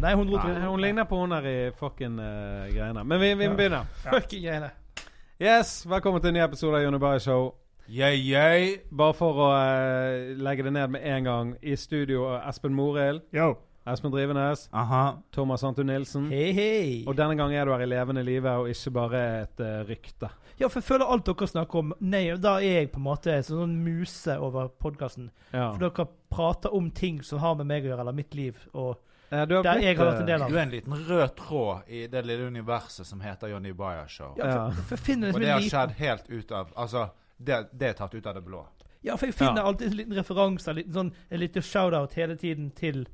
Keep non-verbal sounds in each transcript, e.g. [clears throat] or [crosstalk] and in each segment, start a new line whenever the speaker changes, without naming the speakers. Nei, hun dro
Nei,
til
hun ligner på hun der i fucking eh, greiene. Men vi, vi
Ja.
begynner.
Fucking greiene.
Yes, velkommen til en ny episode av Jonny Berg Show.
Yeah, yeah.
Bare for å eh, legge det ned med en gang. I studio er Espen Morild,
Yo.
Espen Drivenes,
Aha.
Thomas Anton Nilsen.
Hei, hei.
Og denne gangen er du her i levende live og ikke bare et eh, rykte.
Ja, for jeg føler alt dere snakker om Nei, da er jeg på en måte sånn, sånn muse over podkasten.
Ja.
For dere prater om ting som har med meg å gjøre, eller mitt liv, og
Eh, du
der jeg har vært en del
Du
av.
er en liten rød tråd i det lille universet som heter Johnny Bayer Show.
Ja, for, for jeg finner
Og
liksom
det
en
har
liten
skjedd helt ut av Altså, det, det er tatt ut av det blå.
Ja, for jeg finner
Ja.
alltid en liten referanse, en liten, sånn, en liten shout-out hele tiden til,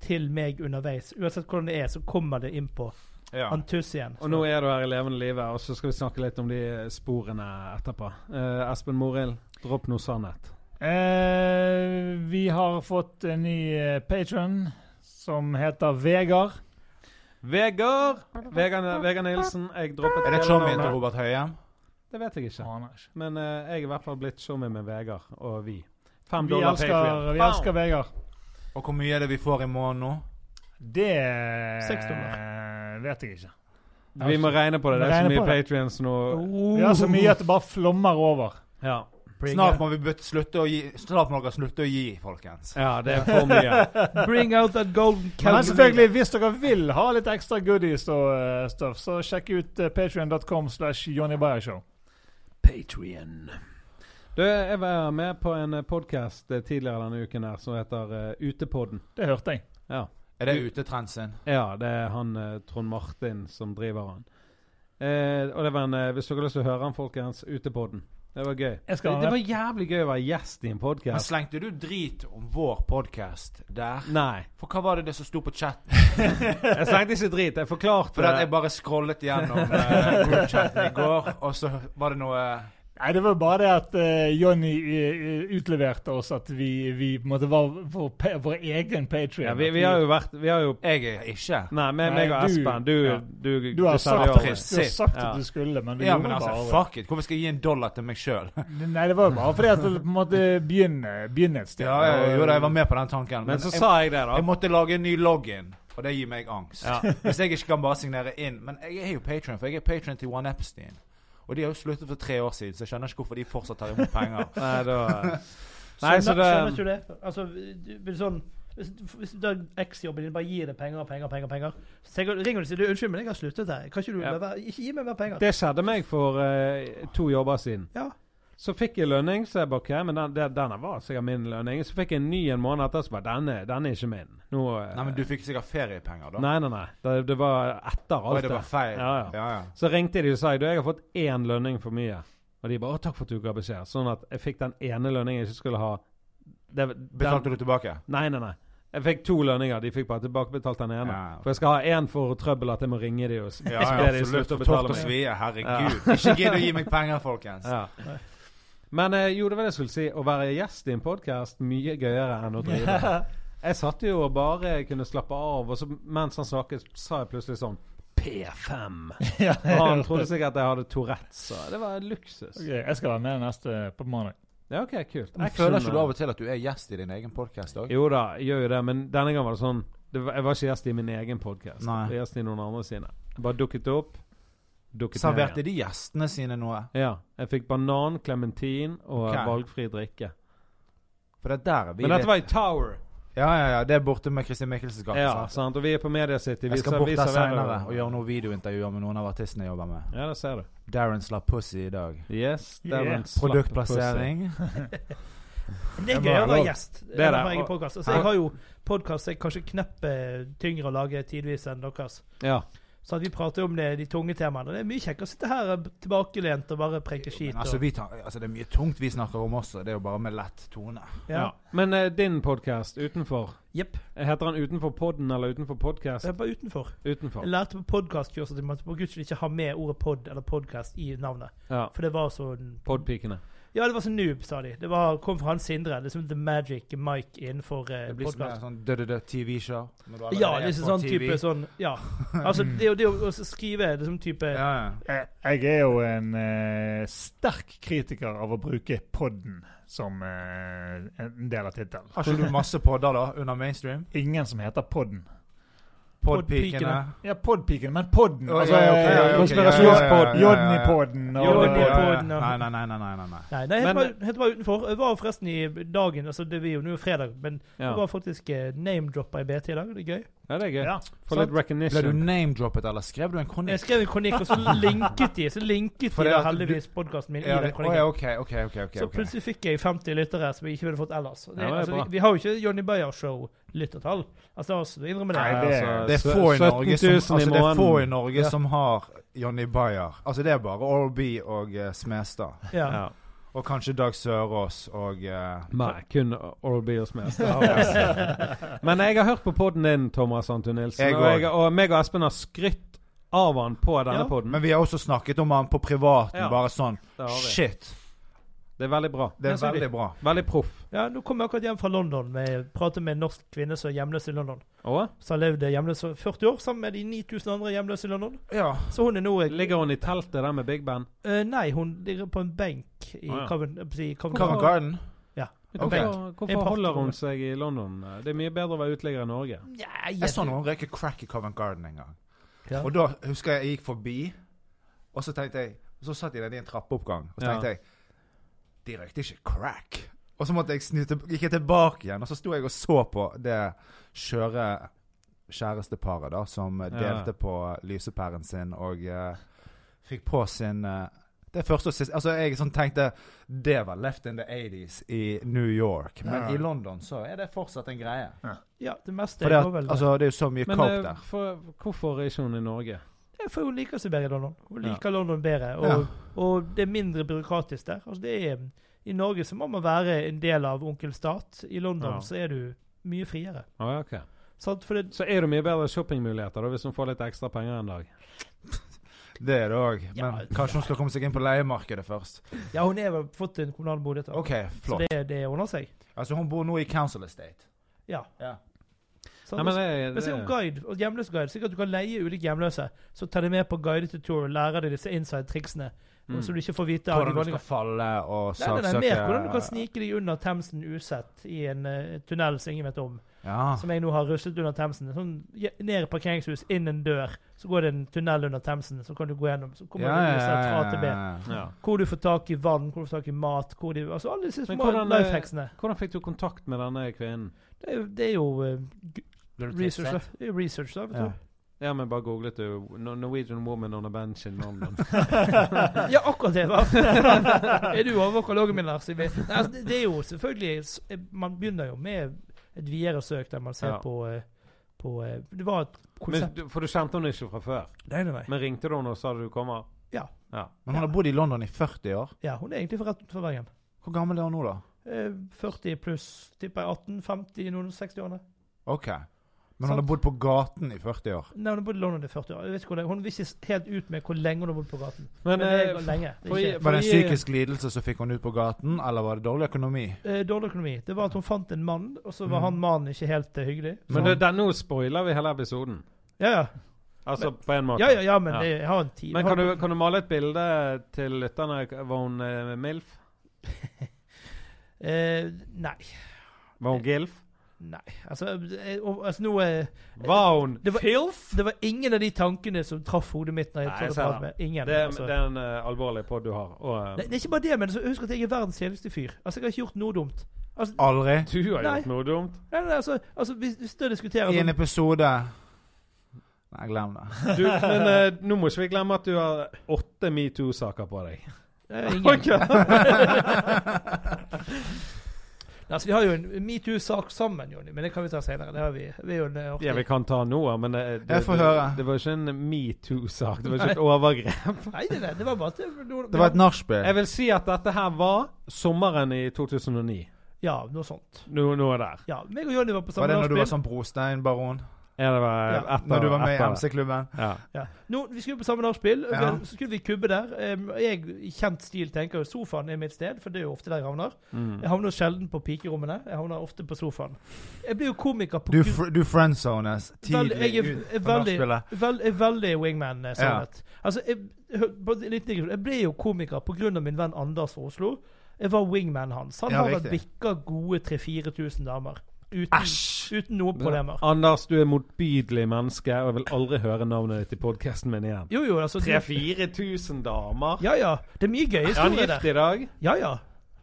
til meg underveis. Uansett hvordan det er, så kommer det inn på
Ja.
Antuss igjen.
eh, Og nå er du her i levende live, og så skal vi snakke litt om de sporene etterpå. Eh, Espen Morild, dropp noe sannhet.
Eh, vi har fått en ny eh, patron som heter Vegard.
Vegard! Vegard Vegard Nilsen. Jeg droppet
Er det
hele
chommien
navnet.
til Robert Høie?
Det vet jeg ikke.
Aner ikke.
Men eh, jeg er i hvert fall blitt showman med Vegard og vi. Fem
Vi
dollar
elsker, vi
Bam!
elsker Vegard.
Og hvor mye er det vi får i måneden nå?
Det
Seks
eh, vet jeg ikke.
Vi må regne på det. Det er så
Regne
mye
på det.
patrions nå.
Vi har så mye at det bare flommer over.
Ja.
Bring
Snart
out-
må vi bytte, slutte å gi, snart må dere slutte å gi, folkens.
ja, det er for mye.
[laughs]
Bring out that golden
Men
calendar.
selvfølgelig, hvis dere vil ha litt ekstra goodies og eh, stuff, så sjekk ut uh, patrion.com slash Johnny Bayer Show.
Patrion. Du, jeg var med på en podkast tidligere denne uken her som heter eh, Utepodden.
Det hørte jeg.
Ja.
Er det utetrend sin?
Ja, det er han eh, Trond Martin som driver han. Eh, og det var en, eh, Hvis dere har lyst til å høre han, folkens, Utepodden. Det var gøy.
Jeg
Det,
skal ha
det
med.
var jævlig gøy å være gjest i en
Men
podkast.
slengte du drit om vår podkast der?
Nei,
For hva var det det som sto på
[laughs]
chatten?
jeg slengte ikke drit. Jeg forklarte
For at jeg bare scrollet gjennom eh, groupchatten i går, og så var det noe
Nei, det var bare det at eh, Johnny eh, utleverte oss at vi, vi på en måte var vår, pa- vår egen patrion.
ja, vi, vi har jo vært Vi har jo
Jeg er ikke
Nei, meg,
Nei,
meg og
du-
Espen. Du,
ja.
du,
Du har,
sa
sagt,
ja.
du har sagt at
Ja.
du skulle, men du
Ja,
gjorde
men altså,
bare
fuck it. Hvorfor skal jeg gi en dollar til meg [laughs] sjøl?
Nei, det var jo bare fordi at det på en måte begynner, begynner et sted.
Ja, ja, jo da, jeg var med på den tanken.
Men så
jeg,
sa jeg det, da.
jeg måtte lage en ny login, og det gir meg angst.
Ja.
[laughs] Hvis jeg ikke kan bare signere inn. Men jeg er jo patron, for jeg er patron til One Epstein. Og de har jo sluttet for tre år siden, så jeg skjønner ikke hvorfor de fortsatt tar imot [laughs] penger.
Nei, da Nei,
Skjønner-
så
Skjønner
det
ikke du det? Altså, du- vil sånn hvis, hvis du har eksjobben din, bare gir det penger, penger, penger, penger. Så tenker, du- ringer du og sier du, 'Unnskyld, men jeg har sluttet her. Kan ikke du
Ja.
la være? Ikke gi meg mer penger.'
Det skjedde meg for eh, to jobber siden.
Ja.
Så fikk jeg lønning, så jeg bare ok, men den, den, denne var sikkert min lønning. Så fikk jeg en ny en måned etter, så bare denne, denne er ikke min. Nå, eh,
Nei, men du fikk sikkert feriepenger, da.
Nei, nei, nei. Det, det var etter
Oi,
alt
det
det.
var feil.
Ja, ja. Så ringte de og sa du, jeg har fått én lønning for mye. Og de bare å, takk for at du ga beskjed. Sånn at jeg fikk den ene lønningen jeg ikke skulle ha. Det, den,
Betalte du [laughs] tilbake?
Nei, nei, nei. Jeg fikk to lønninger. De fikk bare tilbakebetalt den ene.
Ja.
For jeg skal ha én for trøbbel at jeg må ringe de og s- be
Ja, ja,
de
absolutt.
slutte å
For
betale
Tort og
meg.
svie, herregud. Ikke gidd å gi meg penger, folkens.
Ja. Men eh, jo, det var det jeg skulle si. Å være gjest i en podkast mye gøyere enn å drive. Jeg satt jo og bare kunne slappe av, og så mens han snakket, sa jeg plutselig sånn P5.
[laughs] Ja,
Og
[laughs]
han trodde sikkert at jeg hadde Tourettes. Så det var luksus.
Ok, jeg skal være med neste på mandag.
Ja, OK, kult.
Men
Action,
føler ikke du
eh.
av og til at du er gjest i din egen podkast òg?
Jo da, jeg gjør jo det, men denne gangen var det sånn det var, Jeg var ikke gjest i min egen podkast. Jeg
Nei.
var gjest i noen andre sine. Jeg bare dukket opp. Dukket ned
Serverte
igjen.
de gjestene sine noe?
Ja. Jeg fikk banan, klementin og
Ok.
valgfri drikke.
For det der er vi
Men
litt-
dette var i Tower.
Ja, ja, ja. Det er borte med Kristin Mikkelsens gate.
Ja,
sant?
sant? Og vi er på Media City.
Jeg
Vi
skal
ser-
bort
vi
der
serverer-
seinere og gjøre noen videointervjuer med noen av artistene jeg jobber med.
Ja, det ser du.
Darren slapp pussy i dag.
Yes, det var
Yeah.
en slapp
Produktplassering.
Det er gøy
Jeg
å
bare lov.
være gjest.
Det er det.
Å være i
Og-
podcast. Altså, jeg har jo podkast jeg er kanskje kneppet tyngre å lage tidvis enn deres.
pussy. Ja.
Så at vi prater jo om det, de tunge temaene. Det er mye kjekkere å sitte her eh, tilbakelent og bare preke
Men
skit.
altså,
og-
vi tar, altså, det er mye tungt vi snakker om også. Det er jo bare med lett tone.
ja.
Ja.
Men eh, din podkast, Utenfor,
Jepp.
heter han Utenfor podden eller Utenfor podkast?
Jeg er bare utenfor.
Utenfor.
Jeg lærte på podkastkurset at man på gudskjelov ikke har med ordet pod eller podcast i navnet.
Ja.
For det var sånn
Podpikene.
Ja, det var sånn noob, sa de. Det var, kom fra han Sindre. Liksom The Magic Mike innenfor eh,
Det blir som en
podkast.
sånn dødødød-TV-show.
Ja, liksom sånn type sånn Ja.
[laughs]
Altså, det er jo det å- å skrive liksom type
Ja, ja.
Eh, Jeg er jo en eh, sterk kritiker av å bruke podden som eh, en del av tittelen.
Har ikke du masse podder da, under mainstream?
Ingen som heter podden.
Podpikene.
Ja, podpiken, men podden.
Å,
Altså,
ja, ja, ok, ja, ja, ok, ja, ja, ja, ja,
Konspirasjonspodden.
ja, ja, ja.
Jodnypodden.
Ja,
og-
ja, ja.
Podden, ja.
Nei, nei, nei, nei, nei, nei, nei.
Nei, nei helt,
Men-
bare, helt bare utenfor. Jeg var forresten i dagen altså det er jo nå fredag, men
Ja.
jeg var faktisk eh, name-droppa i BT i dag. Det er gøy.
ja, det er gøy.
Ja.
Få litt
Ble du
recognition.
name-droppet, eller skrev du en
Jeg
kronikk?
skrev en kronikk, og så
[laughs]
linket de så linket
For
de
det
da
at du-
heldigvis podkasten min
Ja,
i den
det- å,
kronikken.
ja, ok, ok, ok. ok,
Så
ok.
plutselig fikk jeg 50 lyttere som jeg ikke ville fått ellers. Det,
Ja, det er
altså,
bra.
vi, vi har jo ikke Johnny Beyer-show-lyttertall. Altså, la oss innrømme det.
Nei, det-
altså,
Det er få i
17 000
Norge som, altså, det er
måneden.
få i Norge
Ja.
som har Johnny Bayer. Altså, det er bare Oral-B og eh, Smestad.
Ja.
Ja.
Og kanskje Dag Sørås og eh,
Nei, kun Oral B og Smith. Men eh, jeg har hørt på poden din, Thomas Anton Nilsen.
Jeg
og,
òg.
jeg, og meg og Espen har skrytt av han på denne
Ja.
podden.
Men vi har også snakket om han på privaten,
Ja.
bare sånn.
Det, har vi.
Shit!
det er veldig bra.
Det
Ja,
er
så vi-
veldig bra.
Veldig proff.
ja, Nå kom jeg akkurat hjem fra London. Med, pratet med en norsk kvinne som er hjemløs i London.
Og
Som har levd hjemløs i 40 år sammen med de 9000 andre hjemløse i London.
Ja.
Så hun er nå eh,
ligger hun i teltet der med Big Band?
eh, Nei, hun ligger på en benk i
Å, ja.
Covent i Covent Garden.
Covent Garden.
Men
Ok.
Hvorfor,
En
hvorfor
part-
holder hun seg i London? Det er mye bedre å være uteligger i Norge.
Nei,
Jeg så noen røyke crack i Covent Garden en gang.
Ja.
Og da husker jeg jeg gikk forbi, og så tenkte jeg Så satt jeg der i en trappeoppgang, og så
Ja.
tenkte jeg De røykte ikke crack. Og så måtte jeg snu til, gikk jeg tilbake igjen, og så sto jeg og så på det skjøre kjæresteparet da, som eh,
Ja.
delte på lysepæren sin og eh, fikk på sin eh, det første og siste Altså, jeg sånn tenkte Det var left in the 80s i New York. Men
Ja.
i London så er det fortsatt en greie.
Ja, det meste
For det,
går vel
at, altså, det er jo så mye
Men
coke
eh,
der.
for, hvorfor er ikke hun i Norge?
Det er For hun liker seg bedre i London. Hun
Ja.
liker London bedre. Og, og det er mindre byråkratisk der. Altså det er, I Norge så må man være en del av onkel stat. I London
Ja.
så er du mye friere.
Ah, ja, ok.
Sant? For det,
Så er det mye bedre shoppingmuligheter da, hvis hun får litt ekstra penger en dag.
Det er det òg. Men
Ja,
kanskje hun skal komme seg inn på leiemarkedet først.
ja, hun er vel fått en kommunal bolig. da.
OK,
Så
flott.
det, det ordner seg.
Altså, hun bor nå i Council Estate.
Ja.
Ja.
Sant?
Nei, men eh, det,
men se om
det,
guide, og hjemløs guide, sikkert du kan leie ulike hjemløse. Så tar de med på guidete tour og lærer de disse inside-triksene.
Mm.
og Så du ikke får vite av de
Hvordan du
vanlige-
skal falle og
Nei, nei, nei,
saksøke
mer hvordan du kan snike deg under Themsen usett i en eh, tunnel som ingen vet om.
Ja.
Som jeg nå har ruslet under Themsen. Sånn, je- ned i parkeringshus, inn en dør. Så går det en tunnel under Themsen, så kan du gå gjennom. Så kommer
Ja,
du
ja,
usett fra A
ja,
til B.
ja.
ja.
Hvor du får tak i vann, hvor du får tak i mat, hvor de Altså alle disse
Men
små
hvordan, eh,
lifehacksene.
Hvordan fikk du kontakt med denne kvinnen?
Det er jo, det er jo eh, g-
Blir du
research,
tipset?
da. Det er jo research, da. Vet
Ja.
du.
Ja, men bare googlet du No- 'Norwegian woman on a bench in
[laughs]
London'.
Ja, akkurat det,
[laughs]
hva? er du overvåker loggen min, Lars? Nei, altså, det- det er jo selvfølgelig s- eh, Man begynner jo med et videre søk der man ser
Ja.
på, eh, på eh, Det var et
Men,
konsept
du- for du kjente henne ikke fra før?
Nei, nei, nei.
Men ringte du henne og sa du kommer?
Men hun har bodd i London i 40 år.
Ja, hun er egentlig fra rett utenfor Bergen.
Hvor gammel er hun nå, da?
Eh, 40 pluss, tipper jeg 18, 50, noen 60-årene.
OK. Men
Sant.
hun har bodd på gaten i 40 år.
Nei, hun har bodd i London i 40 år. Jeg vet ikke hvor lenge. Hun visste ikke helt ut med hvor lenge hun har bodd på gaten. Men
Men,
det er
eh,
lenge. Det
for-
er ikke,
for-
Var det en
Fordi-
psykisk lidelse som fikk hun ut på gaten, eller var det dårlig økonomi?
eh, dårlig økonomi. Det var at hun fant en mann, og så var
Mm.
han mannen ikke helt eh, hyggelig. Så
Men
han-
det, der, nå spoiler vi hele episoden.
ja, ja.
Altså på en måte.
ja, ja, ja, men
Ja.
det- jeg har en tid.
Men kan du, kan du male et bilde til lytterne? Var hun eh, MILF?
eh, Nei.
Var
Eh,
hun GILF?
Nei. Altså, eh, og- altså nå eh,
Var hun
Det var-
FILF?
Det var ingen av de tankene som traff hodet mitt når jeg
Nei,
tatt
jeg ser
prat
det.
med Ingen.
Det, er-
altså.
det er en eh, alvorlig pod du har. Og, eh,
Nei, det er ikke bare det, men så husk at jeg er verdens kjedeligste fyr. Altså, jeg har ikke gjort noe dumt. Altså,
Aldri.
du har
Nei.
gjort noe dumt.
Nei, nei, altså, altså hvis, hvis du diskuterer
I en
sånn
episode Nei, glem det. [laughs]
Du, men eh, nå må ikke vi glemme at du har åtte metoo-saker på deg.
eh, ingen. [laughs] Nei, altså, vi har jo en metoo-sak sammen, Jonny, men det kan vi ta senere. Det har vi. vi er jo en, eh, artig-
Ja, vi kan ta noe, men eh, det,
Jeg får
det,
høre.
det var ikke en metoo-sak. Det var ikke et
[laughs]
overgrep.
Nei, nei, nei, det var bare at det,
Det var et nachspiel.
Jeg vil si at dette her var sommeren i 2009.
Ja, noe sånt.
Nå, nå er det der.
Ja, meg og Jonny var på
Var
samme
det når du var
nachspiel.
sånn brosteinbaron?
Ja, det var
Ja,
etter,
Når du var med i
etter det.
MC-klubben?
Ja.
Ja. Nå, vi skulle på samme nachspiel, og
Ja.
vi- så skulle vi kubbe der. Em, og Jeg i kjent stil tenker jo sofaen er mitt sted, for det er jo ofte der jeg havner.
Mm.
Jeg havner jo sjelden på pikerommene, jeg havner ofte på sofaen. Jeg blir jo komiker på
Du,
gru-
fr du friendzones
Veldig-
tidlig
jeg er-
ut
er
på
veldig-
nachspielet.
Vel, jeg er veldig wingman-sannhet. Altså, jeg, hø- bare en liten digresjon. jeg ble jo komiker pga. min venn Anders fra Oslo. Jeg var wingman hans. Han
Ja,
har vært
riktig.
bikka gode 3000-4000 damer. Uten, uten noen problemer.
Anders, du er motbydelig menneske, og jeg vil aldri høre navnet ditt i podkasten min igjen.
Jo, jo, altså
3000-4000 damer.
Ja, ja. Det er mye gøye
Er han
historier der.
gift i dag?
Ja, ja.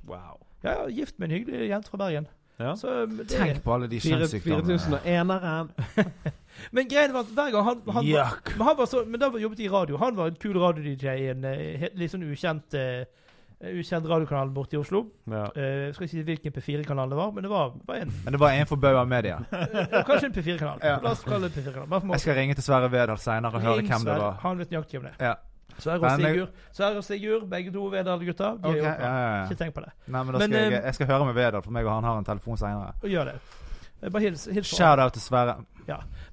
Wow.
ja, ja. Gift med en hyggelig jente fra Bergen.
Ja.
Så, um, det,
Tenk på alle de kjønnssykdommene.
4001-eren.
Men greien var at hver gang han, han, var,
Yuck.
men han var så, Men da var- jobbet jeg i radio. Han var en kul radio-DJ i en eh, helt- litt sånn ukjent, eh, ukjent radiokanal borte i Oslo.
Ja.
Eh, skal ikke si hvilken P4-kanal det var, men det var, var en,
Men det var en forbauda media. [laughs]
eh, kanskje en P4-kanal.
Ja.
La oss kalle det P4-kanal. Bare for
Jeg
måte.
skal ringe til Sverre Vedal seinere og høre
Ring
hvem det
Sverre.
var.
Han vet nøyaktig hvem det er.
Ja.
Sverre og
Men jeg-
Sigurd. Sverre og Sigurd, begge to Vedal-gutter. De er
Ok,
jo-
ja, ja, ja.
Ikke tenk på det.
Nei, men da
Men,
skal jeg,
eh,
jeg skal høre med Vedal, for meg og han har en telefon seinere.
Og gjør det. Eh, Bare hils, hils på.
Shout out til Sverre.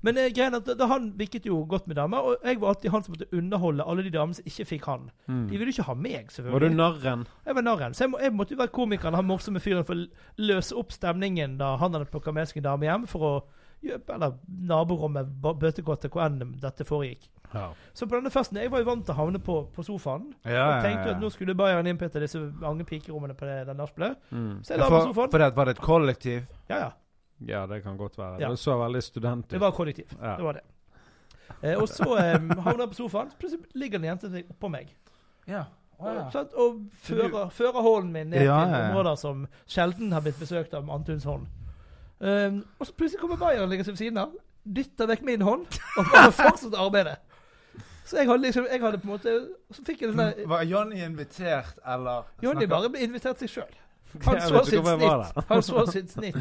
Men eh, greien er at da- da han virket jo godt med damer, og jeg var alltid han som måtte underholde alle de damene som ikke fikk han.
Mm.
De ville jo ikke ha meg,
Mm. Var du
selvfølgelig.
narren?
Jeg var narren. Så jeg, må, jeg måtte jo være komikeren, han morsomme fyren, for å løse opp stemningen da han hadde plukka med seg en dame hjem, for å gjø- eller naborommet, ba- bøtekottet, hvor enn dette foregikk.
Ja.
Så på denne festen Jeg var jo vant til å havne på, på sofaen.
Ja,
Og
ja,
tenkte jo
ja.
at nå skulle Bayern innpynte disse mange pikerommene på det, den nachspielet.
Mm.
Så jeg la meg på
For,
sofaen.
for det var det et kollektiv?
Ja, ja.
ja, det kan godt være.
Ja.
Du så veldig student
Det
ut.
var kollektiv.
Ja.
Det var det. Eh, og så eh, havner jeg på sofaen, så plutselig ligger det en jente oppå meg.
Ja.
Sant? Og fører, fører hålen min ned
Ja,
til
ja, ja.
områder som sjelden har blitt besøkt av Antuns hånd. Um, og så plutselig kommer Bayern og ligger seg ved siden av, dytter vekk min hånd, og bare fortsetter arbeidet. Så jeg hadde liksom, jeg hadde på en måte Så fikk jeg en sånn der
Mm. Var Johnny invitert, eller
Jonny
snakker-
bare ble invitert seg
[laughs]
sjøl.
Jeg
Han
vet
så
ikke
sitt
hvorfor jeg var
snitt. Han så sitt snitt.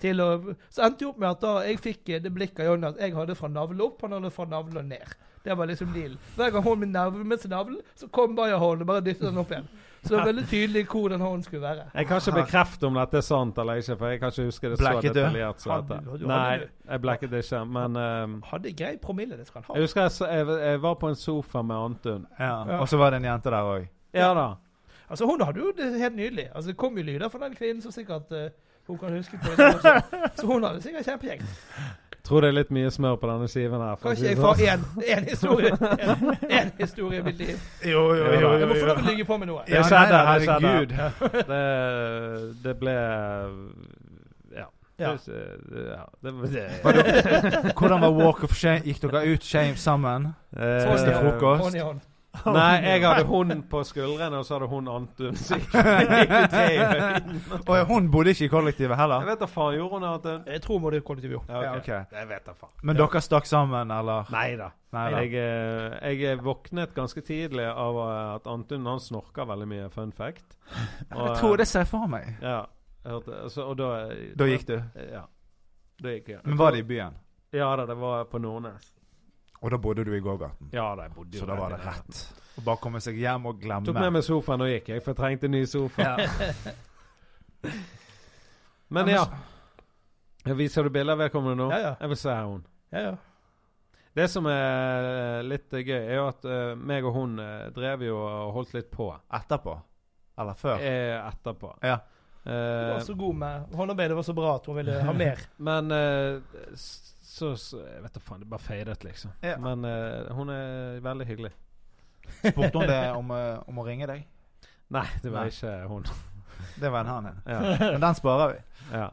Til å, så endte jo opp med at da jeg fikk eh, det blikket av Jonny at jeg hadde fra navlen opp, han hadde fra navlen ned. Det var liksom dealen. Hver gang hånden min nærmet seg navlen, så kom bare hånden og bare dyttet den opp igjen. Så det var veldig tydelig hvor den hånden skulle være.
Jeg kan ikke bekrefte om dette er sant eller ikke, for jeg kan ikke huske det så
Blacket du?
detaljert. som
Hadde-
dette.
hadde du-
Nei,
hadde
jeg blacket ikke, men ehm,
Hadde grei promille, det skal han ha.
Jeg husker jeg, så- jeg, jeg var på en sofa med Antun.
Ja. Og så var det en jente der òg.
Ja da.
Altså, hun hadde jo det helt nydelig. Altså, det kom jo lyder fra den kvinnen som sikkert eh, hun kan huske på det. også. Så hun hadde sikkert kjempekjekt.
Tror det er litt mye smør på denne skiven her. for å
Kanskje
si det
jeg
sånn.
får én- én historie en, en historie i mitt liv.
Jo, jo,
jo,
Jeg må få lov å ligge på med noe.
Det
Ja,
skjedde,
nei,
det
nei,
skjedde. [laughs] Det, det ble Ja.
Ja.
Det, ja, det, det,
Hvordan var walk of shame? Gikk dere ut shame sammen?
Eh,
Sånn,
Spiste frokost?
Hånd i hånd.
Nei, jeg hadde hun på skuldrene, og så hadde hun
[laughs]
Antun. Så gikk vi tre i høyden.
Og hun bodde ikke i kollektivet
Jeg
heller?
vet da faen. Gjorde hun det, Antun?
Jeg tror må det kollektiv gjort.
Ja, ok.
Jeg vet da faen.
Men dere stakk sammen, eller?
Nei da.
Nei da.
Jeg, eh, jeg våknet ganske tidlig av eh, at Antun han snorker veldig mye. Fun
[laughs]
fact. Og, eh,
Jeg tror det ser jeg for meg.
Ja. jeg Hørte, så, og da eh,
Da gikk du.
Ja. Da gikk jeg.
Men var det i byen?
Ja da, det var på Nordnes.
Og da bodde du i gågaten.
Ja da, jeg bodde jo
Så da
rett
var
i
det
nærheten.
rett. Å bare komme seg hjem og
Tok med
glemme.
meg sofaen og gikk, jeg, for jeg trengte en ny sofa. [laughs]
Ja.
Men ja. Jeg viser du bilder av vedkommende nå?
Ja, ja.
Jeg vil se her, hun.
Ja, ja.
Det som er eh, litt eh, gøy, er jo at eh, meg og hun eh, drev jo og holdt litt på
Etterpå? Eller før?
eh, etterpå.
Ja.
Hun var
Eh,
så god med håndarbeidet, var så bra at hun ville
[laughs]
ha mer.
men eh, s- så, så Jeg vet da faen, det bare feidet, liksom.
Ja.
Men eh, hun er veldig hyggelig.
Spurte hun det om, eh, om å ringe deg?
Nei, det var
Nei.
ikke hun.
Det var en han en.
Ja,
Men den sparer vi.
ja.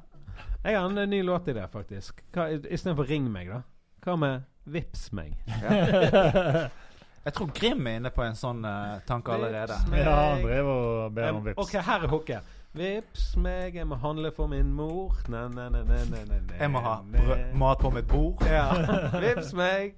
Jeg har en eh, ny låt i det, faktisk. Hva- i- Istedenfor Ring meg, da. Hva med Vips meg?
Jeg tror Grim er inne på en sånn eh, tanke allerede.
Vips meg.
Ja, han drev og ber
eh,
om
Em,
vips.
Ok, her er hooket. Vips meg, jeg må handle for min mor. Ne, ne, ne, ne, ne, ne, ne.
Jeg må ha brød, mat på mitt bord.
Ja. Vips meg.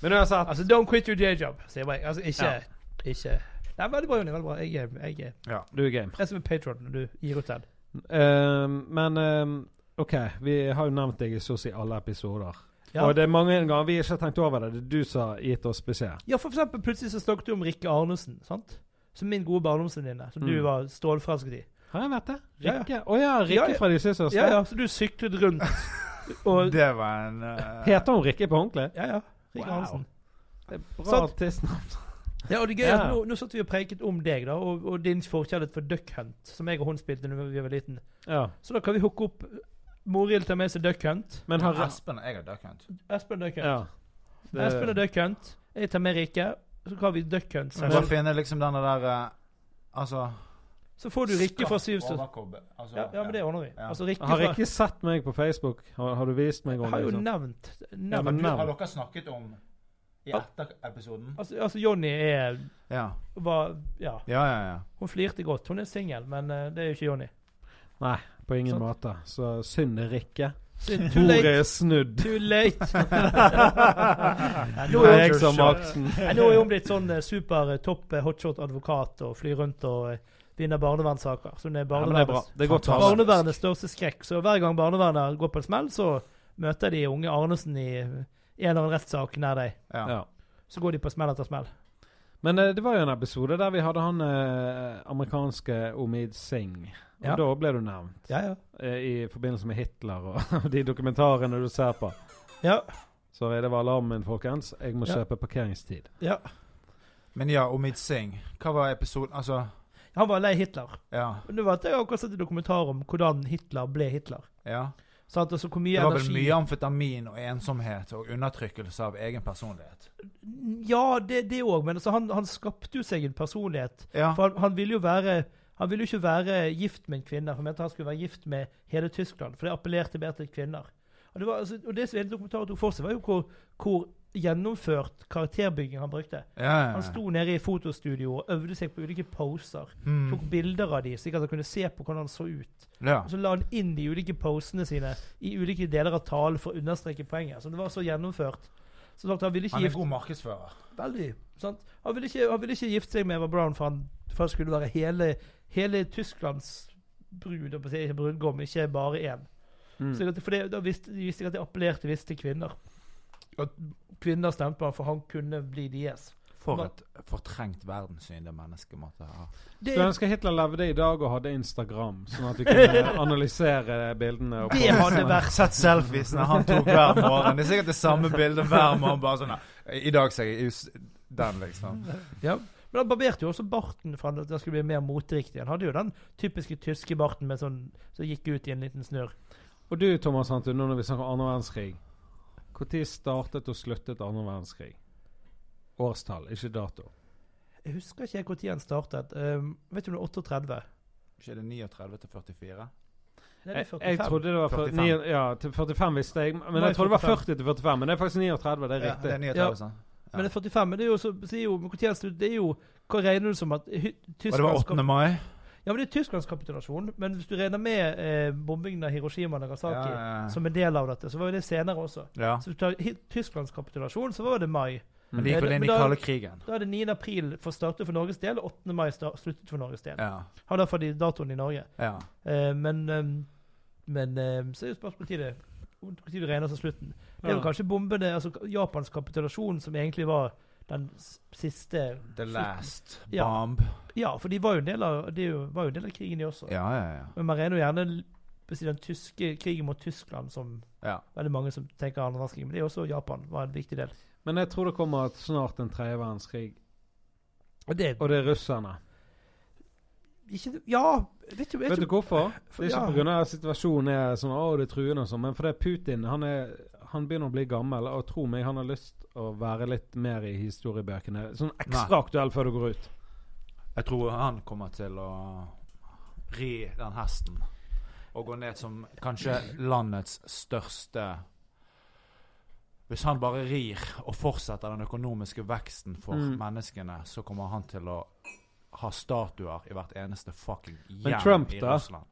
Men uansett
Altså, don't quit your day job, sier jeg. Altså, ikke,
Ja.
ikke. Nei, veldig bra, Jonny. Veldig bra. Jeg, er- jeg, er-
Du er game.
jeg er som en patron når du gir ut den.
Ehm, men ehm, OK, vi har jo nevnt deg i så å si alle episoder.
Ja.
Og det er mange ganger vi ikke har tenkt over det. Det er du som har gitt oss beskjed.
ja, for eksempel plutselig så snakket du om Rikke Arnesen, sant? Som min gode barndomsvenninne, som du
Mm.
var stålforelsket i.
Har jeg vært det?
Ja, ja.
Rikke? Å ja, Rikke
Ja, ja.
fra De Søstre.
Ja, ja, så du syklet rundt og
Det var en eh,
Heter hun Rikke på ordentlig?
Ja, ja. Rikke
Wow.
Arnesen.
Det er bra
Sant.
artistnavn.
Ja, og det gøye er at
Ja.
nå, nå satt vi og preiket om deg, da, og, og din forkjærlighet for Duck Hunt, som jeg og hun spilte da vi var liten.
Ja.
Så da kan vi hooke opp Morild tar med seg Duck Hunt.
Men har
Espen og jeg har duck hunt.
Espen Duck Hunt.
ja. Det-
Espen og Duck Hunt. Jeg tar med Rikke. Så har vi Duck Hunt.
Så jeg
sammen.
bare finne liksom denne der eh, Altså
Så får du Rikke fra Syvstund.
Overkobbe. Altså,
Ja, ja, men det ordner vi.
Ja.
Altså, Rikke
Har
fra,
ikke sett meg på Facebook. Har, har du vist meg om
har jo
liksom?
nevnt,
Ja,
nevnt.
men
Du,
navn.
har dere snakket om i
Ja.
etter-episoden?
Altså, altså Jonny er
Ja.
var, Ja,
Ja, ja, ja.
hun flirte godt. Hun er singel, men eh, det er jo ikke Jonny.
Nei, på ingen
Sant.
måte. Så synd det er Rikke.
Synd. Too
Bordet
late.
er snudd.
Too late.
Nå
Nå er
jeg
hun-
som aksen.
Nei, nå er hun blitt sånn eh, super eh, topp eh, hotshot-advokat og flyr rundt og eh, vinner barnevernssaker. Så hun er
Ja, men det er bra.
barnevernets,
Det er godt å ha.
barnevernets største skrekk. Så hver gang barnevernet går på en smell, så møter de unge Arnesen i eh, en eller annen rettssak nær deg.
ja.
Ja.
Så går de på smell etter smell.
Men eh, det var jo en episode der vi hadde han eh, amerikanske Omid Singh. Og
Ja.
da ble du nevnt.
Ja, ja.
eh, I forbindelse med Hitler og [laughs] de dokumentarene du ser på.
Ja.
Sorry, det var alarmen min, folkens. Jeg må
Ja.
kjøpe parkeringstid.
ja.
Men ja, Omid Singh. Hva var episoden Altså,
Han var lei Hitler.
ja.
Men Du vet, Jeg har akkurat sett en dokumentar om hvordan Hitler ble Hitler.
ja.
Sant? Altså, hvor mye
Det var vel
energi
mye amfetamin og ensomhet og undertrykkelse av egen personlighet.
Ja, det det òg, men altså, han, han skapte jo seg en personlighet.
Ja.
For han, han ville jo være han ville jo ikke være gift med en kvinne. for Han mente han skulle være gift med hele Tyskland, for det appellerte mer til kvinner. Og det, var, altså, og det som hele dokumentaren tok for seg, var jo hvor, hvor gjennomført karakterbygging han brukte.
ja, ja,
Han
ja.
sto nede i fotostudio og øvde seg på ulike poser.
Mm.
Tok bilder av de, slik at han kunne se på hvordan han så ut.
ja.
Og så la han inn de ulike posene sine i ulike deler av talen for å understreke poenget. Så det var så gjennomført. Så sagt, han ville ikke
Han er
gifte
god markedsfører.
Veldig. Sant? Han, ville ikke, han ville ikke gifte seg med Eva Brown, for han, for han skulle være hele, hele Tysklands brud, og på å si, ikke brudgom, ikke bare én.
Mm.
Så at- For det, da visste, de visste jeg at det appellerte visst til kvinner. At kvinner stemte på han, for han kunne bli deres.
For
Hva-
et fortrengt verdenssyn det mennesket måtte ha.
Det,
Skulle ønske Hitler levde i dag og hadde Instagram, sånn at vi kunne
[laughs]
analysere bildene. Og
det hadde vært
Sett selfiesene han tok hver morgen. Det er sikkert det samme bildet hver morgen. Bare sånn I dag ser jeg us den, liksom.
ja. Men han barberte jo også barten for at den skulle bli mer moteriktig. Han hadde jo den typiske tyske barten med sånn, som gikk ut i en liten snørr.
Og du, Thomas Hantun, nå når vi snakker om andre verdenskrig. Når startet og sluttet andre verdenskrig? Årstall, ikke dato.
Jeg husker ikke helt når han startet. Um, vet du, det er 38.
Ikke er det 39 til 44?
Nei, det er
Jeg,
45.
jeg trodde det var 45.
45.
ja, til 45 visste jeg, men
Nei,
jeg trodde det var
45.
40 til 45. Men det er faktisk 39, det er
Ja, det
riktig.
er 39,
Ja.
sant?
Men det er 45, men det er jo så sier jo, men hvor tjener du- Det er jo Hva regner du som at hy-
Og det var
Tysklands
8. mai?
Ja, men det er Tysklands kapitulasjon. Men hvis du regner med eh, bombingen av Hiroshima og Nagasaki
Ja, ja, ja.
som en del av dette, så var jo det senere også.
Ja.
Så hvis du tar hy- Tysklands kapitulasjon, så var det mai.
Men de gikk vel inn i
Men da-
kalde krigen.
Da er det 9. april for startet for Norges del, og 8. mai sta- sluttet for Norges del.
Ja.
Har derfor de datoen i Norge.
ja.
Eh, men eh, men eh, så er jo spørsmålet når det- hvor tid du regner som slutten. Det er vel
Ja.
kanskje bombene, altså Japans kapitulasjon, som egentlig var den s- siste
The last
Ja.
bomb.
Ja, for de var jo en del av, de er jo- var jo en del av krigen, de også.
Ja, ja, ja.
Men man regner jo gjerne l- på å si den tyske krigen mot Tyskland som
Ja.
veldig mange som tenker andre verdenskrig. Men det er også Japan var en viktig del.
Men jeg tror det kommer at snart en tredje verdenskrig.
Og det
Og det er russerne.
ikke, Ja, vet du, jeg
Vet du
tror-
hvorfor?
For-
Det er ikke
ja.
pga. at situasjonen er sånn å, det er truende og sånn, men fordi Putin han, er, han begynner å bli gammel, og tro meg, han har lyst å være litt mer i historiebøkene. Sånn ekstra aktuell før du går ut.
Jeg tror han kommer til å ri den hesten og gå ned som kanskje landets største Hvis han bare rir og fortsetter den økonomiske veksten for
Mm.
menneskene, så kommer han til å ha statuer i hvert eneste fucking
Men
hjem
Trump,
i
da?
Russland.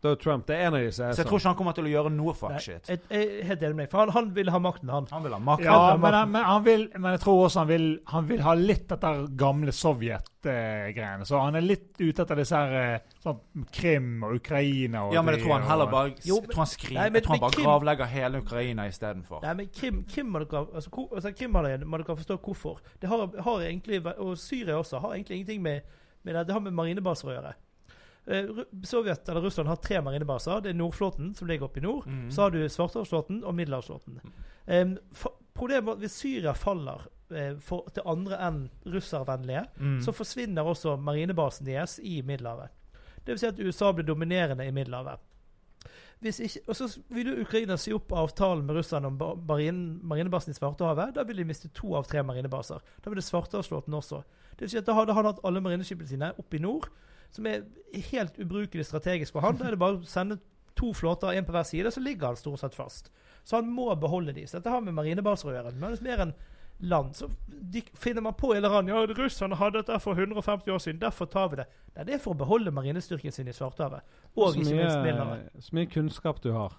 Da er Trump det er en av de som er
Så jeg
sånn.
tror ikke han kommer til å gjøre noe
Nei,
fuck shit.
jeg, jeg er helt enig med deg. For han, han ville ha makten, han.
Han vil ha makt.
Ja, men, han, men, han vil, men jeg tror også han vil, han vil ha litt dette gamle Sovjet-greiene. så han er litt ute etter disse her eh, sånn Krim og Ukraina og
Ja, men jeg
de-
tror han heller
og-
bare
Jo, men-
jeg tror han skriver,
Nei, men-
jeg tror han
men
bare
Kim-
gravlegger hele Ukraina istedenfor.
Nei, men Krim, Krim må dere altså, hvor- altså, Krim må dere, må dere forstå hvorfor. Det har, har egentlig, Og Syria også har egentlig ingenting med, med det, det har med marinebaser å gjøre. Eh, Ru- Sovjet eller Russland har tre marinebaser. Det er Nordflåten, som ligger oppe i nord.
Mhm.
Så har du Svartehavsflåten og Middelhavsflåten. Em, fa- problemet var at hvis Syria faller eh, for, til andre enn russervennlige,
Mm.
så forsvinner også marinebasen deres i Middelhavet. Det vil si at USA blir dominerende i Middelhavet. Hvis ikke, og så vil jo Ukraina si opp avtalen med russerne om ba- marin, marinebasen i Svartehavet. Da vil de miste to av tre marinebaser. Da vil det Svartehavsflåten også. Det vil si at da hadde han hatt alle marineskipene sine oppe i nord. som er helt ubrukelig strategisk for han. Da er det bare å sende to flåter, én på hver side, så ligger han stort sett fast. Så han må beholde de. Så dette har med marinebaser å gjøre. Men det er mer enn land. Så de, finner man på en eller annen Ja, russerne hadde dette for 150 år siden, derfor tar vi det. Nei, det er for å beholde marinestyrken sin i Svartehavet. Og
så,
ikke minst midlene.
mye, så mye kunnskap du har.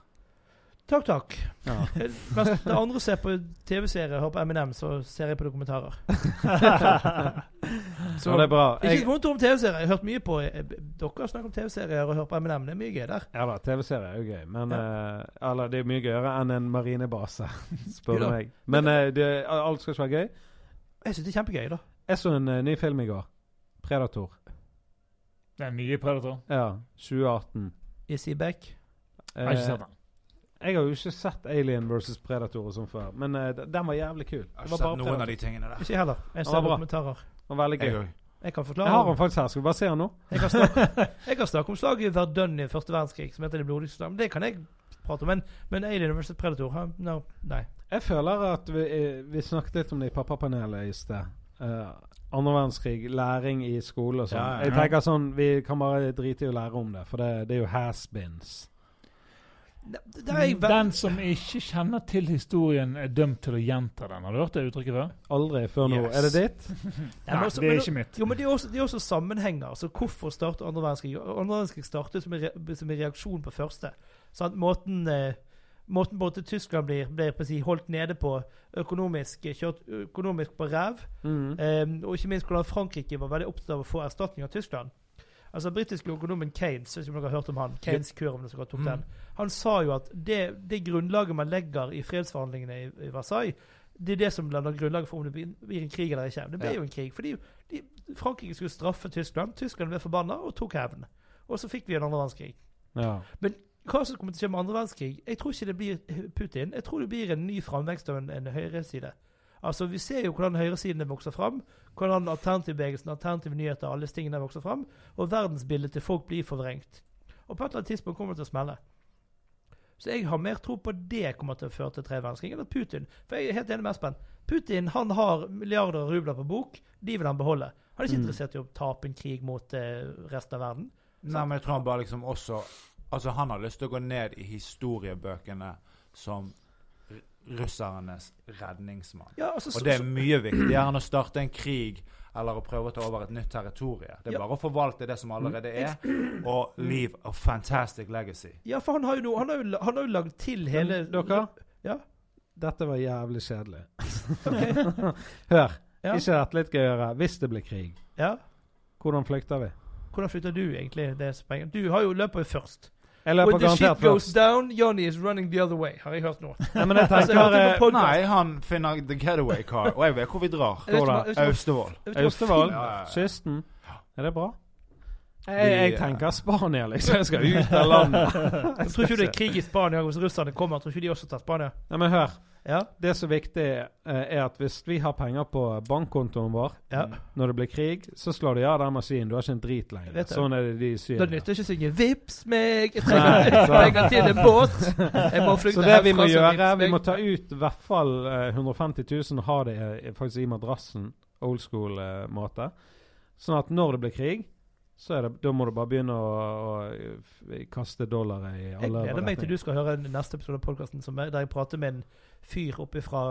Takk, takk.
[laughs]
Ja. [laughs]
Mens det andre ser på TV-serier, hører på Eminem, så ser jeg på dokumentarer.
Så det er bra.
Ikke
Jeg,
vondt om TV-serier. Jeg har hørt mye på eh, Dere har snakket om TV-serier og hørt på Eminem. Det er mye gøy der.
ja da, TV-serie er jo gøy, men eh, Eller det er mye gøyere enn en marinebase, [laughs] spør du
Jo da.
meg. Men eh, det, alt skal ikke være gøy.
Jeg syns det er kjempegøy, da.
Jeg så en eh, ny film i går. 'Predator'.
Det er mye Predator.
Ja, 2018.
Is he back?
Eh,
Jeg har ikke sett den.
jeg har jo ikke sett Alien versus Predator og sånn før, men eh, d- den var jævlig kul.
Jeg har
Det var
ikke
bare
sett noen av
Predator.
de tingene der.
Ikke jeg heller. Jeg
Ja,
ser
bra.
dokumentarer.
Den var veldig gøy.
Jeg
Jeg,
òg.
Jeg kan
har
forklare.
den faktisk her. Skal vi bare se den nå?
Jeg kan snakke, jeg kan snakke om slaget i Verdun i første verdenskrig, som heter Det blodige slag. Men Det kan jeg prate om. Men, men Alien vs. Predator han- no, Nei.
Jeg føler at vi, eh, vi snakket litt om det i pappapanelet i sted. Eh, Andre verdenskrig, læring i skole og sånn.
Ja, ja,
Jeg
ja.
tenker sånn, Vi kan bare drite i å lære om det, for det, det er jo has-beens.
Ne- Det er jeg ve-
Den som ikke kjenner til historien, er dømt til å gjenta den. Har du hørt det uttrykket før?
Aldri før nå.
Yes.
Er det ditt?
Nei, men
Nei,
også-
det
men-
er ikke mitt.
Jo, men det er, også, det er også sammenhenger. Så hvorfor startet andre verdenskrig? Andre verdenskrig startet som en, re som en reaksjon på første. Sant? Måten, eh, måten både Tyskland blir, blir på å si, holdt nede på økonomisk, eh, kjørt økonomisk på ræv,
Mm.
eh, og ikke minst hvordan Frankrike var veldig opptatt av å få erstatning av Tyskland. Altså britiske økonomen Keynes, hvis dere har hørt om han, Keynes kur, om dere har tok
Mm.
den, han sa jo at det, det grunnlaget man legger i fredsforhandlingene i, i Versailles, det er det som lander grunnlaget for om det blir, blir en krig eller ikke. Det ble
Ja.
jo en krig, fordi de, Frankrike skulle straffe Tyskland. Tyskland ble forbanna og tok hevn. Og så fikk vi en andre verdenskrig.
Ja.
Hva som kommer til å skje med andre verdenskrig? Jeg tror ikke det blir Putin. Jeg tror det blir en ny framvekst av en, en høyreside. Altså, Vi ser jo hvordan høyresidene vokser fram. Hvordan alternativbevegelsen, alternative nyheter, alle disse tingene vokser fram. Og verdensbildet til folk blir forvrengt. Og på et eller annet tidspunkt kommer det til å smelle. Så jeg har mer tro på det kommer til å føre til tre verdenskrig, enn at Putin For jeg er helt enig med Espen. Putin han har milliarder av rubler på bok. De vil han beholde. Han er ikke
Mm.
interessert i å tape en krig mot eh, resten av verden.
Nei, men jeg tror han bare liksom også Altså, han har lyst til å gå ned i historiebøkene som r- russernes redningsmann.
Ja, altså, så,
Og det er mye viktigere enn å starte en krig eller å prøve å ta over et nytt territorium. Det er
Ja. Mm.
bare å forvalte det som allerede er, og leave a fantastic legacy.
Ja, for han har jo, noe, han har jo, la- han har jo lagd til hele
Men dere?
Ja.
Dette var jævlig kjedelig.
Ok,
[laughs] Hør.
Ja.
Ikke dette litt gøyere? Hvis det blir krig,
ja.
hvordan flykter vi?
Hvordan flytter du egentlig det sprenget? Du har jo løpet først.
Jeg løper
When the shit
garantert
goes
først.
down, Johnny is running the other way, har jeg hørt nå.
Nei, men
[laughs]
jeg
Altså, jeg har hørt
tenker
det
eh,
på podcast.
Nei, han finner the getaway car, og jeg vet hvor vi drar.
Jeg vet ikke hva- jeg vet ikke hva-
Austevoll.
jeg vet ikke hva
Austevoll,
Ja, ja, ja.
kysten. Er det bra? Jeg,
Vi,
jeg
eh,
tenker Spania, liksom. Jeg skal ut av landet.
film- Jeg tror ikke det er krig i Spania hvis russerne kommer. Jeg tror ikke de også tar Spania.
Nei, men hør.
Ja,
Det som er viktig, eh, er at hvis vi har penger på bankkontoen vår
ja.
Mm.
når det blir krig, så slår de av den maskinen. Du har ikke en drit
Jeg
lenger.
vet det.
Sånn er det de i
Da
Syria.
nytter det ikke å synge 'Vips meg', jeg
Nei,
trenger, jeg trenger til en båt. Jeg må flykte
Så det vi må
herfra, så
gjøre,
vips
vi
meg.
må ta ut i hvert fall eh, 150 000 og ha det eh, faktisk i madrassen. Old school-måte. Sånn at når det blir krig, så er det, da må du bare begynne å, å eh, kaste dollar i
Jeg
alle
gleder meg til
retninger.
du skal høre neste episode av podkasten der jeg prater med en fyr oppe fra,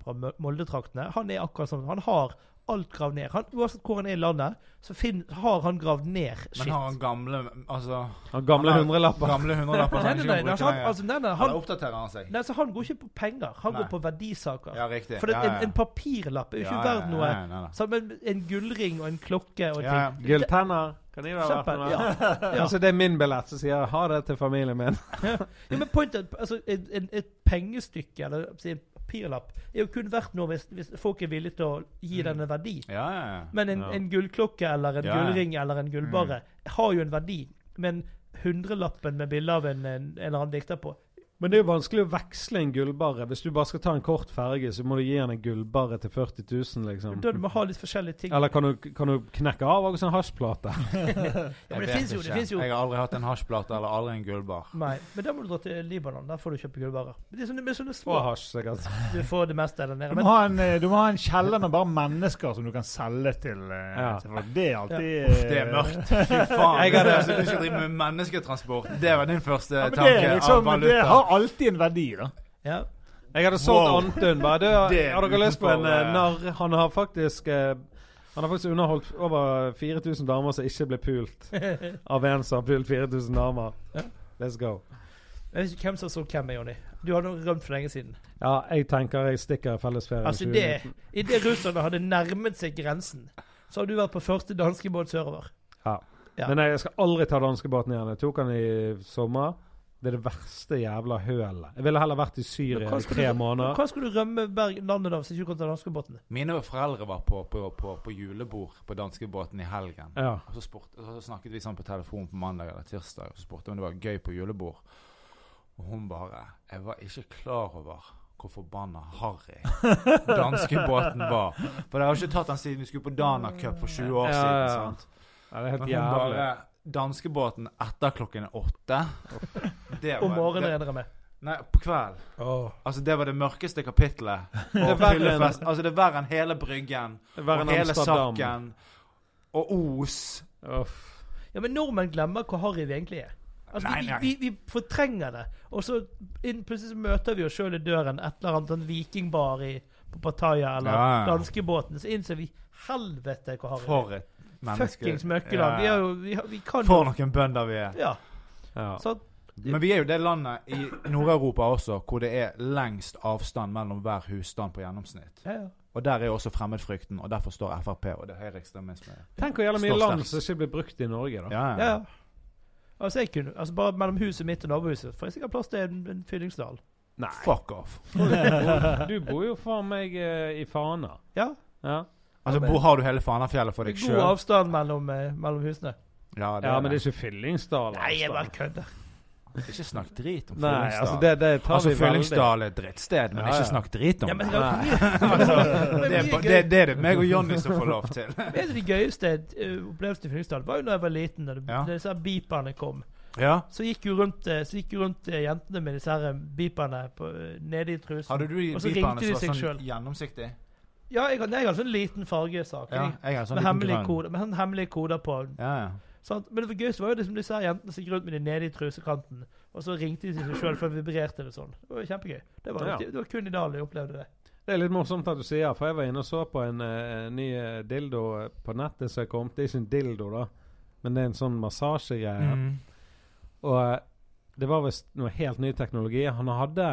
fra Mø- Molde-traktene. Han er akkurat som Han har alt gravd ned. Han, uansett hvor han er i landet, så finn, har han gravd ned shit.
Men har han gamle Altså
Han gamle
han har
hundrelapper.
Gamle hundrelapper som
Nei,
han
nei,
ikke
nei,
kan
nei,
bruke
han,
lenger.
altså, nei, nei,
Eller
han,
oppdaterer han seg?
nei, så han går ikke på penger. Han
Nei.
går på verdisaker.
Ja, riktig.
For det,
ja, ja.
en, en papirlapp er jo ikke
Ja, ja,
verdt noe.
ja, ja, ja, ja.
Så, men en gullring og en klokke og ting.
Ja, ja.
Gulltenner. Kan de være verdt
Kjempe,
noe?
ja. Ja.
Altså, det er min billett som sier 'ha det til familien min'. [laughs]
Ja, men pointet, er at, altså, en, en, et pengestykke eller si, en papirlapp er jo kun verdt noe hvis, hvis folk er villige til å gi
Mm.
den en verdi.
Ja, ja, ja.
Men en,
Ja.
en gullklokke eller en
Ja, ja.
gullring eller en gullbarre har jo en verdi. Men hundrelappen med bilde av en, en, en eller annen dikter på
Men det er jo vanskelig å veksle en gullbarre. Hvis du bare skal ta en kort ferge, så må du gi han en gullbarre til 40 000, liksom.
Da du må ha litt forskjellige ting.
Eller kan du, kan du knekke av også en hasjplate?
Ja, men det
Jeg vet
finnes jo, det
ikke.
finnes jo.
Jeg har aldri hatt en hasjplate eller aldri en gullbar.
Nei, men da må du dra til Libanon. Der får du kjøpe gullbarer. Men Det er sånne, med sånne
Og
små
hasj, sikkert.
Du får det meste der nede.
Du må,
Men
ha en, eh, du må ha en kjeller med bare mennesker som du kan selge til. eh,
Ja.
til folk. Det er alltid eh,
Det er mørkt. Fy faen. Jeg hadde, altså, du skal drive med mennesketransport. Det var din første
Ja, men det,
tanke
er
av
liksom, det
valuta.
har alltid en verdi, da.
ja,
Jeg hadde solgt
Wow.
Antun. Bare, du,
Det er
har dere lyst på en
utenfor,
eh,
eh,
narr? Han har faktisk eh, han har faktisk underholdt over 4000 damer som ikke ble pult av en som har pult 4000 damer.
Ja.
Let's go.
jeg vet ikke hvem som så hvem, er, Jonny. Du hadde rømt for lenge siden.
Ja, jeg tenker jeg stikker i fellesferien.
Altså,
2019.
det- Idet russerne hadde nærmet seg grensen, så har du vært på første danskebåt sørover. ja.
Men jeg skal aldri ta danskebåten igjen. Jeg tok den i sommer. Det er det verste jævla hølet. Jeg ville heller vært i
Men
Syria
hva
i
skal
tre
du-
måneder.
Hva skulle du rømme Berg landet av hvis du ikke kom til danskebåtene?
Mine foreldre var på, på, på, på julebord på danskebåten i helgen.
Ja.
Og så, spurte- og så snakket vi sånn på telefon på mandag eller tirsdag, og så spurte jeg om det var gøy på julebord. Og hun bare Jeg var ikke klar over hvor forbanna harry danskebåten var. For jeg har ikke tatt den siden vi skulle på Dana Cup for 20 år
Ja, ja,
siden.
ja.
sant?
ja, det er helt
Men hun
jævlig.
bare Danskebåten etter klokken åtte. Det
Om morgenen
det,
regner jeg med.
Nei, på kveld. Altså, det var det mørkeste kapitlet.
[laughs] Det
Og
er verre enn
fyllefest. Altså, det er verre enn hele Bryggen.
det er verre
og
enn
hele
Amsterdam.
Sakken. Og Os.
Uff.
Ja, Men nordmenn glemmer hvor harry vi egentlig er. Altså,
Nei,
vi-
nei.
Vi, vi, vi fortrenger det. Og så inn- plutselig så møter vi oss sjøl i døren et eller annet sånn vikingbar i, på Pattaya eller
Ja, ja.
danskebåten. Så innser vi helvete hvor harry vi er.
For et menneske.
Fuckings møkkeland. Vi, er jo, vi, har- vi kan
For noen bønder vi er.
Ja.
Ja.
Så
Men vi er jo det landet i Nord-Europa også hvor det er lengst avstand mellom hver husstand på gjennomsnitt.
ja, ja.
Og der er jo også fremmedfrykten, og derfor står Frp og det høyreekstremisme.
Tenk hvor jævla mye
Står
land
sterkt.
som ikke blir brukt i Norge, da.
Ja,
ja, ja. Altså, jeg kunne, altså Bare mellom huset mitt og nabohuset får jeg sikkert plass til en, en fyllingsdal.
Nei.
Fuck off.
Du bor jo faen meg eh, i Fana.
Ja.
Ja.
Altså, bo, har du hele Fanafjellet for
Med
deg
god
sjøl?
avstand mellom, eh, mellom husene.
Ja,
ja, men det er ikke Fyllingsdal.
Nei, jeg
altså.
bare kødder.
Ikke snakk drit om
Nei,
Fyllingsdal.
altså, det, det tar
altså,
vi veldig.
Fyllingsdal er et drittsted, men
Ja, ja.
ikke snakk drit om
Ja, men
det.
det er jo
Altså,
mye-
det, er,
mye
ba-
gøy.
det, det er det meg og Jonny som får lov til.
En av de gøyeste eh, opplevelsene i Fyllingsdal var jo da jeg var liten, da det-
Ja.
da disse her beeperne kom.
Ja.
Så gikk jo rundt, eh, så gikk jo rundt eh, jentene med disse her eh, beeperne på, eh, nede i trusen.
Hadde du de
Og så ringte
beeperne
de
som
seg
var
selv.
sånn gjennomsiktig?
Ja, jeg, har- nei, jeg har sånn liten fargesak.
Ja,
jeg.
jeg har en sånn
med,
liten
hemmelige
grønn.
koder, med sånn hemmelige koder på.
Ja, ja.
Sant? Men det gøyeste var jo liksom disse her jentene som gikk rundt med de nede i trusekanten. Og så ringte de seg sjøl, for det vibrerte det sånn. Det var jo kjempegøy. Det var,
Ja.
det, var kun i Dalen jeg opplevde det.
Det er litt morsomt at du sier, for jeg var inne og så på en eh, ny eh, dildo på nettet som er kommet. Det er ikke en dildo, da, men det er en sånn massasjegreie.
Mm.
Og eh, det var visst noe helt ny teknologi. Han hadde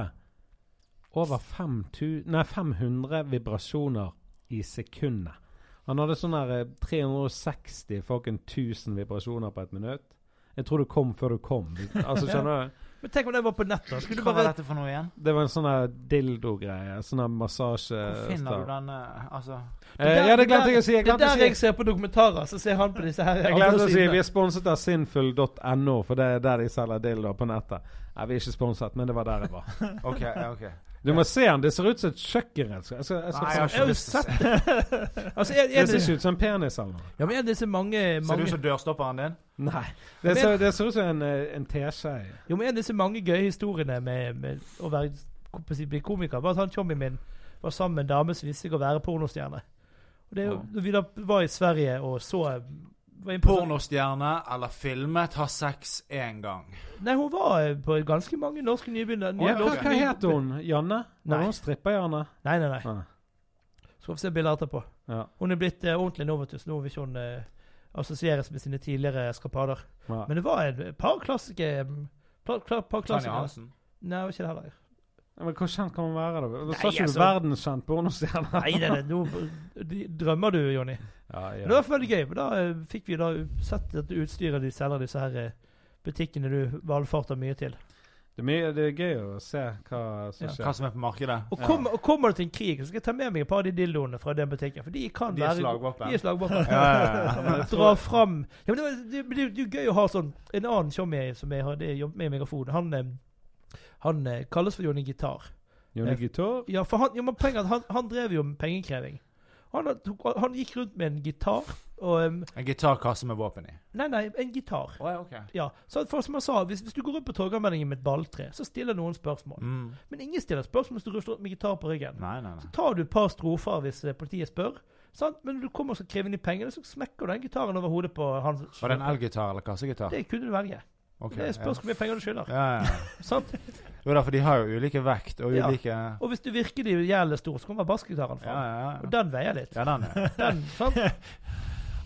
over 5000 nei, 500 vibrasjoner i sekundet. Han hadde sånn her eh, 360 fucking 1000 vibrasjoner på et minutt. Jeg tror du kom før du kom. Altså, skjønner du?
Men tenk om det var på nett, da. Skulle du
Hva var
bare
dette for noe igjen?
Det var en sånn her dildo-greie. Sånn her massasje...
Hvor finner du denne Altså
Eh, ja, det glemte jeg å si. Jeg
Det er
glemte å
der
si.
jeg ser på dokumentarer, så ser han på disse her.
Jeg
andre
glemte å si
sidene.
vi er sponset av sinfull.no, for det er der de selger dildoer på nettet. Nei, vi er ikke sponset, men det var der jeg var.
OK. ja, ok.
Du må se den. Det ser ut som et kjøkkenredskap. Jeg skal, jeg
Nei, jeg har
Jeg har
skal,
ikke
jo
lyst til å
sett
se.
det. [laughs] altså, er, er
det ser
det,
ikke ut som en penis eller noe.
ja, men er det så mange,
Ser du ut
mange
som dørstopperen din?
Nei. Det ser, det ser ut som en, eh, en teskje.
Jo, men en av disse mange gøye historiene med, med å være, ko- på å si, bli komiker, var at han Tjommi min var sammen med en dame som viste seg å være pornostjerne. Og det, er jo- når vi da var i Sverige og så var inne på sånn-
Pornostjerne eller filmet har sex én gang.
Nei, hun var eh, på ganske mange norske nybegynner.
Ja,
nye
hva,
norske
hva
ny-
het hun? Janne?
Nei.
Var hun stripper-Janne?
Nei, nei, nei.
Nei.
Skal vi se bilder etterpå.
Ja.
Hun er blitt eh, ordentlig novatus. Nå vil ikke hun eh, assosieres med sine tidligere eskapader.
Ja.
Men det var en- et par klassiske um, par, kla- par
Tanja
klassikere.
Hansen.
Nei, det var ikke det
[laughs]
heller.
Men hvor kjent kan hun være, da?
Nei,
Sa ikke du
altså-
verdenskjent pornostjerne?
Nei, det, det, nå de- drømmer du, Jonny.
Ja,
Men det var veldig gøy. for Da eh, fikk vi da sett dette utstyret de selger, disse her eh, butikkene du valfarter mye til.
Det, er mye, det er gøy å se hva som
Ja.
Hva
skjer.
som er på markedet?
Og, kom, og kommer det til en krig, så skal jeg ta med meg et par av de dildoene fra den butikken. For de kan
De er
være
slagvåpen.
De er slagvåpen.
Ja, ja, ja.
Dra fram ja, men det, var- det, det, det er jo gøy å ha sånn En annen tjommi som jeg hadde jobbet med i Megafon, han eh, Han eh, kalles for Johnny Gitar.
Johnny
Jeg-
Gitar.
Ja, for han, ja, men poenget er at han, han drev jo med pengekreving. Han, tok, han gikk rundt med en gitar og em,
En gitarkasse med våpen i.
Nei, nei, en gitar.
Oh, ja, ok.
Ja, så at for, som jeg sa, hvis, hvis du går rundt på Torgallmenningen med et balltre, så stiller noen spørsmål.
Mm.
Men ingen stiller spørsmål hvis du rusler rundt med gitar på ryggen.
Nei, nei, nei.
Tar du et par strofer hvis eh, politiet spør, sant? men når du kommer og skal kreve inn de pengene, så smekker du den gitaren over hodet på han.
Var det en elgitar eller kassegitar?
Det kunne du velge.
Ok,
det
ja.
spørs hvor mye penger du skylder.
Ja, ja. ja.
sant?
Jo da, for de har jo ulike vekt og
Ja.
ulike
Og hvis du virkelig gjelder stor, så kommer bassgitaren
Ja,
fram.
ja,
Og
ja.
den veier litt.
Ja, den er.
Den, sant?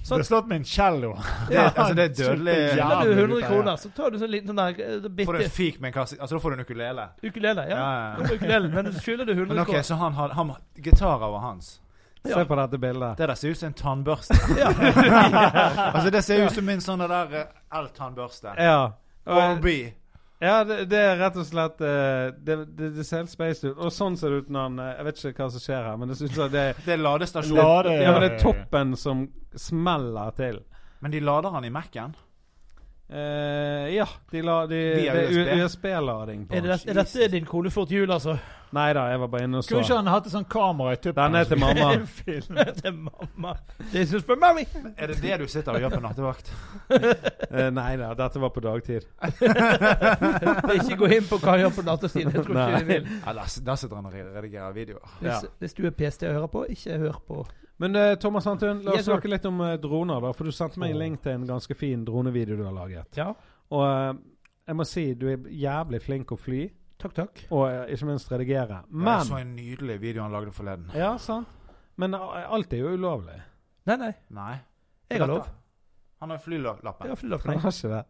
Så ble slått med en cello.
Det, altså, det er dødelig.
Ja,
Gjelder du
men
100
det er-
kroner, så tar du sånn liten sånn der eh,
Får du en
bitte
fik med en kasse Altså, da får du en ukulele.
ukulele. Ja.
ja.
Kom ukulele, men skylder du 100
Men ok,
kroner
så han hadde han, Gitarer var hans.
Se på dette bildet.
Det der ser ut som en tannbørste. altså, det ser ut som min sånne der eh, eltannbørste.
Ja. Og,
OB.
ja, det, det er rett og slett eh, Det, det, det ser helt spaced ut. Og sånn ser det ut når han eh, Jeg vet ikke hva som skjer her, men det ser ut som det er
Det er ladestasjon.
Lade,
Ja, men det er toppen som smeller til.
Men de lader han i Mac-en.
Eh, ja, de la de,
Via
det er
USB.
USB-lading på.
Er, det, er dette din konefort jul, altså? [laughs]
Nei da, jeg var bare inne og så.
Kunne ikke han hatt et sånt kamera i tuppen?
Den er til
[laughs]
mamma.
[laughs] Det er mamma. Det synes for
[laughs]
mamma.
Men Er det det du sitter og gjør på nattevakt?
Eh, nei da, dette var på dagtid.
Ikke gå inn på hva jeg gjør på datastid. Jeg tror ikke de vil.
Ja, der, s- der sitter han og re- redigerer videoer.
Ja.
Hvis, hvis du er PST å høre på, ikke hør på.
Men eh, Thomas Sandtun, la oss
Yes, sir.
snakke litt om eh, droner, da. For du sendte meg en link til en ganske fin dronevideo du har laget.
Ja,
Og eh, jeg må si du er jævlig flink å fly,
takk, takk.
og eh, ikke minst redigere.
Jeg så
Men
en nydelig video han lagde forleden.
Ja, sant. Men eh, alt er jo ulovlig.
Nei, nei.
Nei.
Jeg har lov.
Han har
Jeg
flylappen.
har flylapp,
Han
nei.
har ikke det.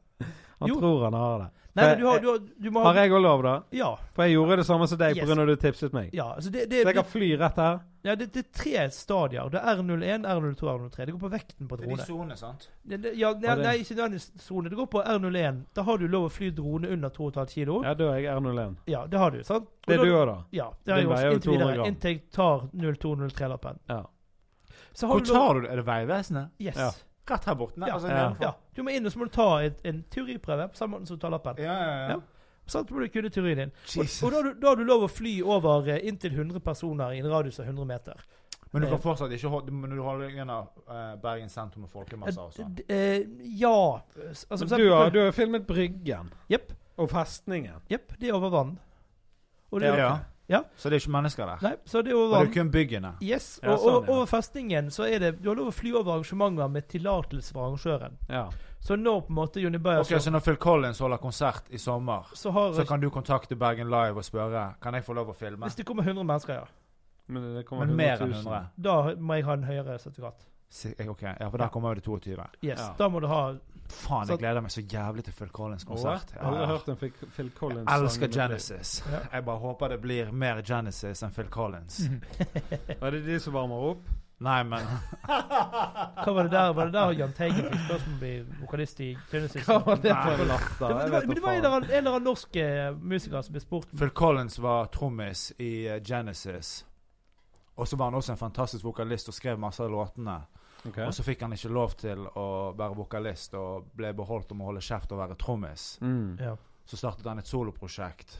Han
Jo.
tror han har det.
Nei, men du har, du har, du må
Har
ha
Eh, jeg òg lov, da?
Ja.
For jeg gjorde det samme som deg
Yes.
pga. du tipset meg.
ja altså det, det,
Så jeg [laughs]
det,
kan fly rett her.
ja, det, det er tre stadier. Det er R01, R02, R03. Det går på vekten på
Det er de
drone.
sonene, sant?
Ja, det- ja, nei,
Og det-
nei, ikke nødvendigvis sone. Det går på R01. Da har du lov å fly drone under 2,5 kilo.
Ja, da er jeg R01.
Ja, det har du, sant? Og
Det
da-
er du òg, da.
Ja. Det har jeg
Din
også,
veier jo
inntil
200
videre.
gram.
Inntil jeg tar 0203-lappen.
Ja.
Så har
Hvor
du lov
tar du det? Er det Vegvesenet?
Yes.
Ja.
Rett her borte. nei,
Ja.
altså,
Ja.
nedenfor.
Ja. Du må inn og så må du ta et, en teoriprøve på samme måte som du tar lappen.
Ja, ja, ja.
Ja. Sånn må du kunne teorien din. Og,
Jesus.
og da, har du- da har du lov å fly over eh, inntil 100 personer i en radius av 100 meter.
Men du kan fortsatt ikke holde, men du holder igjen av eh, Bergen sentrum med folkemasser og sånn.
Eh, d- eh, ja Altså, for
Men
eksempel-
du har, du har jo filmet Bryggen
Jepp.
og festningen.
Jepp, det er over vann. Og det,
Ja, ok.
Ja.
Så det er ikke mennesker der.
Nei, så det er over
Og det er
vann.
kun byggene.
Yes, og
Ja, sånn,
og-
ja.
over festningen så er det Du har lov å fly over arrangementer med tillatelse fra arrangøren.
Ja.
Så når på en måte Johnny Bayer
Ok, Så når Phil Collins holder konsert i sommer,
så har
så kan du kontakte Bergen Live og spørre Kan jeg få lov å filme.
Hvis det kommer 100 mennesker, ja.
Men det kommer
Men mer enn
100 000.
100.
Da må jeg ha en høyere sertifikat.
Si- eh, Ok, ja, For der kommer jo det 22.
Yes,
Ja.
Da må du ha
Faen,
Så-
jeg gleder meg så jævlig til Phil Collins
Åh,
konsert.
Jeg har
Ja,
aldri
ja.
hørt en Phil- Phil
Jeg
Collins.
elsker Genesis.
Ja.
Jeg bare håper det blir mer Genesis enn Phil Collins.
Var det de som varmer
[laughs]
opp?
Nei, men
Hva var det der? Var det der Jahn Teigen fikk spørsmål om å bli vokalist i Genesis?
Hva var det for
Nei.
en latter?
Det var, det
Jeg
var,
vet
men det
da
var en
faen.
eller annen- en eller annen norsk eh, musiker som ble spurt om-
Phil Collins var trommis i eh, Genesis. Og så var han også en fantastisk vokalist og skrev masse av låtene.
Ok.
Og så fikk han ikke lov til å være vokalist og ble beholdt om å holde kjeft og være trommis.
Mm.
ja.
Så startet han et soloprosjekt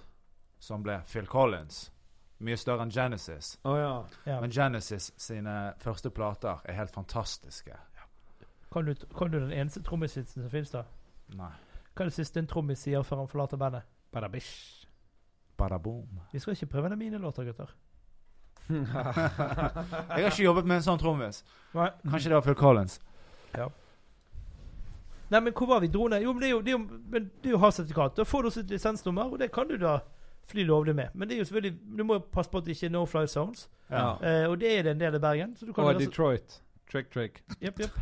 som ble Phil Collins. Mye større enn Genesis.
Å ja.
ja.
Men Genesis sine første plater er helt fantastiske.
kan, du, kan du den eneste trommisvitsen som finnes da?
Nei.
Hva er det siste en trommis sier før han forlater bandet?
[laughs]
Badabish.
Bada boom.
Vi skal ikke prøve en av mine låter, gutter.
Jeg har ikke jobbet med en sånn trommis.
Nei.
Kanskje det var Phil Collins.
Nei, men hvor var vi? Drone? Jo, men det er jo, det er jo, men det er jo å ha sertifikat. Da får du også et lisensnummer, og det kan du da fly lovlig med. Men det er jo selvfølgelig, du må jo passe på at det ikke er no fly zones.
Ja.
Eh, og det er det en del i Bergen. Så du kan
Og
jo også-
Detroit. Trick, trick.
[laughs]
Jepp,
[laughs]
jepp.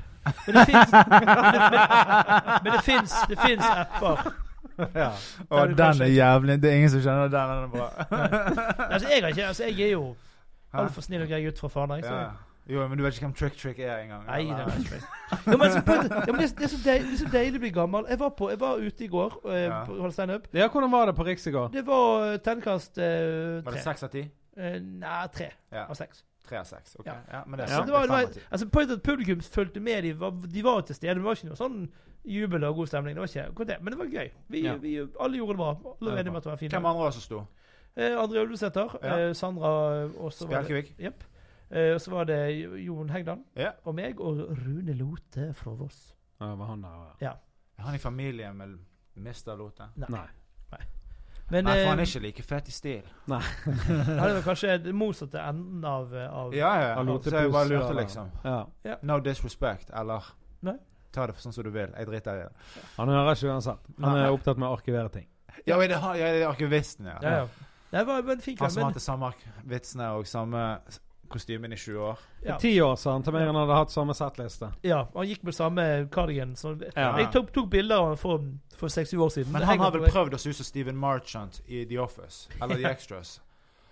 Men det fins [laughs] Men det fins det finnes apper.
Ja.
Der
Og
du
den
kanskje-
er jævlig. Det er ingen som kjenner den. Den er
[laughs]
bra.
Altså, jeg, har ikke, altså, jeg er jo
Hæ?
altfor snill og grei gutt fra Fana. Jeg, så.
Ja. Jo, men du vet ikke hvem Trick Trick er engang?
Nei, det
eller?
er ikke [laughs] ja, men, altså, på en- ja, men det, er- det, er så deilig, det er så deilig å bli gammel. Jeg var, på, jeg var ute i går og
Ja.
eh, på- holdt standup.
ja, hvordan var det på Riks i går?
Det var eh, terningkast eh,
Var det
tre.
seks av ti?
Eh, nei, tre
Ja.
av seks.
3-6. ok.
Ja.
Ja, men det er
Så
sant,
det var, det
det er
var,
fem av ti.
altså Pointet at publikum fulgte med. De var, de var til stede. Det var ikke noe sånn jubel og god stemning. Det var ikke akkurat det, Men det var gøy. Vi,
Ja.
vi, alle gjorde det bra. Alle
Ja,
var
det
enige om at det var fint.
Hvem andre var det som sto?
Eh, André Ulvesæter.
Ja.
Eh, Sandra eh, og så var det-
Bjerkevik?
Jepp. Eh, og så var det Jo- Jon Hegdan
Ja.
og meg og Rune Lote fra Voss.
Ja, var han der?
Er han i familie med Mr. Lote?
Nei.
Men
Nei, for han
eh,
er ikke like fet i stil.
han er vel kanskje det motsatte enden av, eh, av
Ja, ja.
Han lot
Så
det
jeg bare
pulsere,
lurte,
da.
liksom.
Ja.
No disrespect, eller
Nei.
Ta det for sånn som du vil. Jeg driter i det.
Han hører ikke uansett. Han er
Nei.
opptatt med å arkivere ting.
Ja, men det har- ja, det er arkivisten, ja.
Ja, ja. Det var en fin
Han
kveld.
som
Men
hadde samme ark- vitsene og samme s- kostymen i 20 år.
Ja.
I ti år sa han til meg han hadde hatt samme settliste.
ja, han gikk med samme cardigan. Så
Ja.
Jeg tok, tok bilder av han for, for seks-sju år siden.
Men
Det
han
henger
har
på
vel
veggen.
prøvd å se ut som Steven Marchant i The Office, eller
[laughs]
The Extras,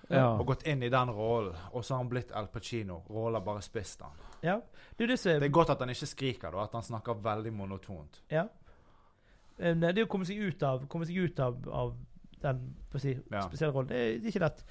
Ja.
og gått inn i den rollen, og så har han blitt Al Pacino. Rollen har bare spist han.
Ja. Du, det, som-
Det er godt at han ikke skriker, da, at han snakker veldig monotont.
Ja. Eh, nei, Det å komme seg ut av, komme seg ut av, av den på å si,
Ja.
spesielle rollen, det er ikke lett.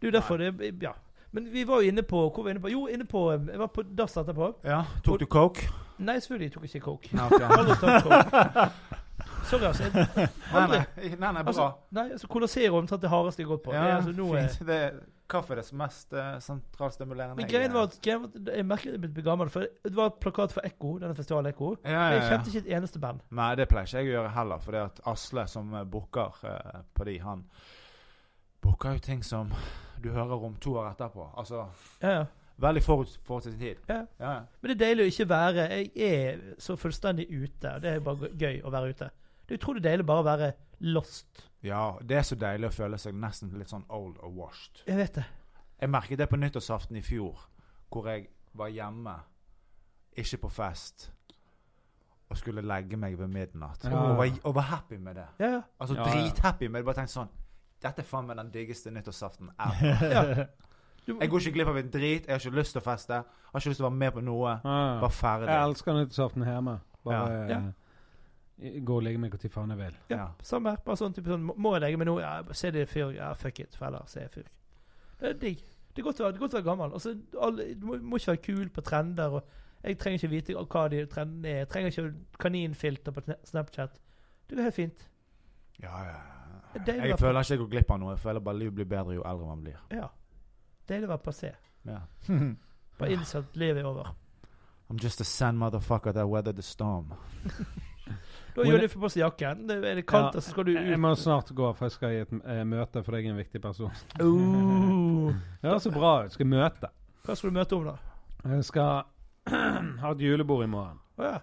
Det er jo derfor det Ja. Men vi var jo inne på Hvor var vi inne på? Jo, inne på eh, Jeg var på dass etterpå.
Ja, Tok du coke?
[laughs] Nei, selvfølgelig tok jeg ikke
[laughs]
coke.
Nei, ok.
Aldri tatt coke. Sorry, altså. Jeg,
nei,
[laughs] aldri.
nei, nei, nei, bra.
Altså, nei, altså Colosseum tatt det hardeste jeg har gått på.
ja,
det, er altså, nå, eh,
fint. Det er kaffe er det som mest eh, sentralstimulerende.
men
jeg-
greien var at greien var at jeg merket at jeg ble gammel. For det var plakat for Ekko, denne festivalen Ekko.
ja, ja,
Men
ja.
jeg kjente ikke et eneste band.
Nei, det pleier ikke jeg å gjøre heller, for det at Asle som eh, booker eh, på de, han booker jo ting som du hører om to år etterpå. Altså
Ja, ja.
veldig forut for sin tid.
Ja.
Ja.
Men det er deilig å ikke være Jeg er så fullstendig ute, og det er bare gøy å være ute. Det er utrolig deilig bare å være lost.
ja, det er så deilig å føle seg nesten litt sånn old og washed.
Jeg vet det.
Jeg merket det på nyttårsaften i fjor, hvor jeg var hjemme, ikke på fest, og skulle legge meg ved midnatt.
Ja.
Og, var, og var happy med det.
Ja, ja.
Altså
Ja, ja.
drithappy med det. Bare tenkte sånn Dette er faen meg den diggeste nyttårsaften ever.
ja. Du,
Jeg går ikke glipp av en drit. Jeg har ikke lyst til å feste. Jeg har ikke lyst til å være med på noe.
Ja.
Bare ferdig.
Jeg elsker nyttårsaften hjemme. Bare
Ja.
eh, gå og legge meg når faen jeg vil.
ja, samme her. Bare sånn type sånn må- Må jeg legge meg nå? Ja, se det er fyr. Ja, fuck it. Feller, se fyr. Det er digg. Det er godt å være, det er godt å være gammel. Altså, alle, du må, må ikke være kul på trender. Og jeg trenger ikke vite hva de trendene er. Jeg trenger ikke kaninfilter på Snapchat. Det går helt fint.
Ja, ja, ja.
Det er jo
Jeg
bare-
føler ikke jeg går glipp av noe. Jeg føler bare livet blir bedre jo eldre man blir.
Ja. Deilig å være passé.
Ja.
Bare innse at livet er over.
I'm just a sand motherfucker that weathered the storm.
Da gjør du for på seg jakken. Det er det kaldt,
Ja.
og så skal du
Jeg [laughs]
ut.
må snart gå, for jeg skal i et eh, møte, for jeg er en viktig
[laughs]
person.
Oh.
Det høres så bra ut. Skal møte.
Hva skal du møte om, da?
Jeg skal [clears throat] ha et julebord i morgen.
Å ja.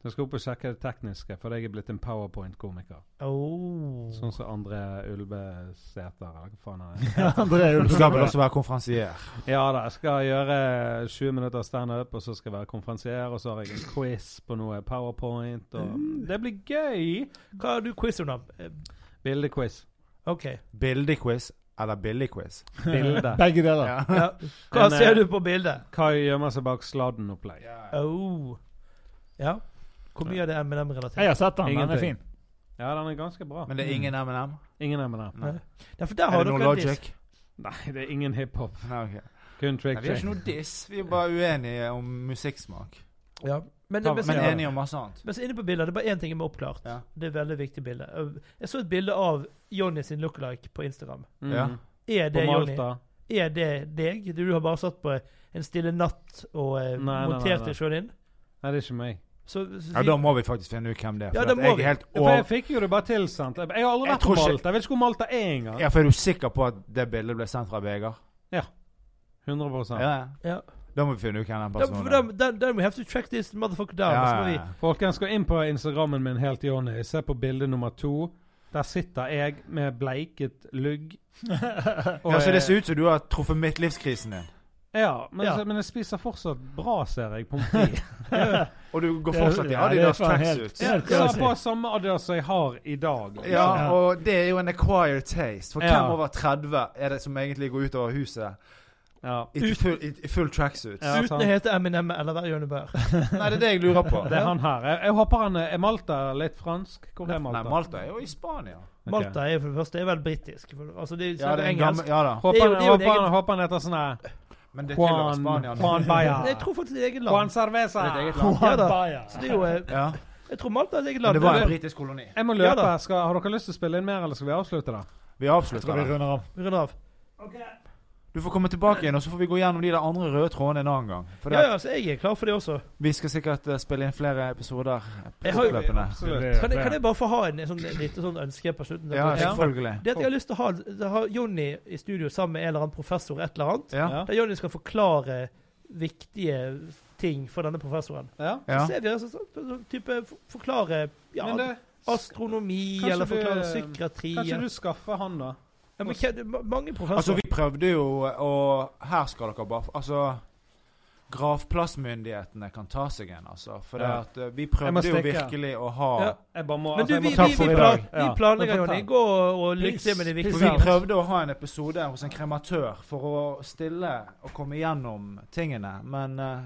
Så Jeg skal opp og sjekke det tekniske, for jeg er blitt en powerpoint-komiker.
Oh.
Sånn som André Ulbesæter, eller hva faen
[laughs]
han er.
André
Du skal vel
Ulvsæter.
også være konferansier.
Ja da, jeg skal gjøre 20 minutter standup, og så skal jeg være konferansier, og så har jeg en quiz på noe powerpoint, og
Mm.
Det blir gøy!
Hva har du quiz om, da? Eh,
Bildequiz.
OK.
Bildequiz eller billigquiz?
Bilde.
Begge deler.
Ja.
Ja. Hva
Men, eh,
ser du på bildet?
Kai gjemmer seg bak sladden-opplegg.
Oh. Ja. Hvor mye av det er med dem relatert?
Jeg har sett den, den er
Ingenting.
fin. [laughs]
Ja, den er ganske bra.
Men det er ingen M&M?
Ingen M&M.
Nei.
Ja, for der
Er
har
det
dere
noe
en diss.
logic?
Nei, det er ingen hiphop.
Nei, ok.
Kun
Nei,
trick
vi har
trick.
ikke noe diss. Vi er bare uenige om musikksmak.
Ja. Men,
Ja,
men,
Men
men,
Ja.
enige om masse annet.
så inne på bildet, det er bare én ting jeg må oppklart.
Ja.
Det er et veldig viktig bilde. Eh, Jeg så et bilde av Jonny sin lookalike på Instagram.
Mm.
Ja.
Er
På
det Jonny?
Malta.
Er det deg? Du har bare satt på en stille natt og eh,
Nei, nei, nei,
montert
nei.
deg sjøl inn?
Nei, det er ikke meg.
Så, så,
Ja, da må vi faktisk finne ut hvem det er.
Ja,
For
det
at
må
jeg
vi.
er helt
For jeg
over...
fikk jo det bare tilsendt. Jeg har aldri
Jeg
vært
tror
på
ikke-
Malta. Jeg vet ikke hvor Malta er engang.
Ja, for er du sikker på at det bildet ble sendt fra Vegard?
100
Ja,
Ja.
Da må vi finne ut hvem den
Da,
personen
for
er.
da, da, da må have to track this motherfucker down. og Så må vi,
Folkens, gå inn på Instagrammen min helt Johnny. Se på bilde nummer to. Der sitter jeg med bleiket lugg. Og,
ja, så det
eh,
ser ut som du har truffet midtlivskrisen din.
ja, men,
Ja.
så- men jeg spiser fortsatt bra, ser jeg.
[laughs]
Pommes frites.
Og du går fortsatt i Adidas tracksuit.
Ja,
Ja,
jeg har på samme Adidas som jeg har i dag. liksom.
Ja, og det er jo en acquired taste. For
Ja.
hvem over 30 er det som egentlig går ut over huset
Ja.
i full, i, i full tracksuit?
Ja,
uten
sant.
å hete Eminem eller være Jonny Bær.
Nei, det er det jeg lurer på.
[laughs] Det er han her. Jeg, jeg håper han er er Malta litt fransk. Hvor er Malta?
Nei, Malta er jo i Spania.
Ok.
Malta er jo for det første er vel britisk. for- Altså, det,
Ja, det er en
engelsk.
gammel, ja da.
Håper,
Det er jo-
han,
det er jo en
håper, han,
egen-
håper han heter sånn her
Men det
Juan,
tilhører Spania. nå.
Juan Bayer.
Jeg tror faktisk det er eget
Juan
land.
Cerveza.
Det er et eget land.
Ja da.
Bayer.
Så det er jo, eh,
Ja.
jeg tror Malta er et eget
Men
land.
det var en
Men-
britisk koloni.
Jeg må
Ja
løpe.
da.
skal, har dere lyst til å spille inn mer, eller skal vi avslutte, da?
Vi
Jeg tror
avslutter
vi
det.
runder av.
Rund av.
Du får komme tilbake igjen, og så får vi gå gjennom de der andre røde trådene en annen gang. For det
Ja,
at
ja, så jeg er klar for det også.
vi skal sikkert eh, spille inn flere episoder
Jeg har jo-
løpende.
Det-
Kan jeg, kan
det-
jeg bare få ha en, en sånn, et lite sånn ønske på slutten?
Ja,
Det er-
selvfølgelig.
Det at jeg har lyst til å ha, ha Jonny i studio sammen med en eller annen professor, et eller annet,
Ja.
Ja.
der Jonny skal forklare viktige ting for denne professoren.
Ja.
Så
Ja.
ser vi altså så, så, type for- forklare ja,
Men det,
astronomi,
Kanskje
eller
du-
forklare psykiatri.
kanskje
eller-
du skaffer han, da?
ja, men, hva- det- ma- mange
Altså,
professorer
vi prøvde jo å Her skal dere bare Altså Gravplassmyndighetene kan ta seg en, altså. For det
Ja.
at eh, vi
Jeg må
prøvde jo
stikke.
virkelig å ha
Ja.
Jeg bare må, altså,
Men du,
jeg
vi,
må
vi,
ta
vi,
for i
plan,
dag.
vi
Ja.
planlegger,
Men
Jonny.
fortell.
Gå og, og lykke til med det
For
viktige.
vi prøvde å ha en episode hos en krematør for å stille og komme gjennom tingene, men eh,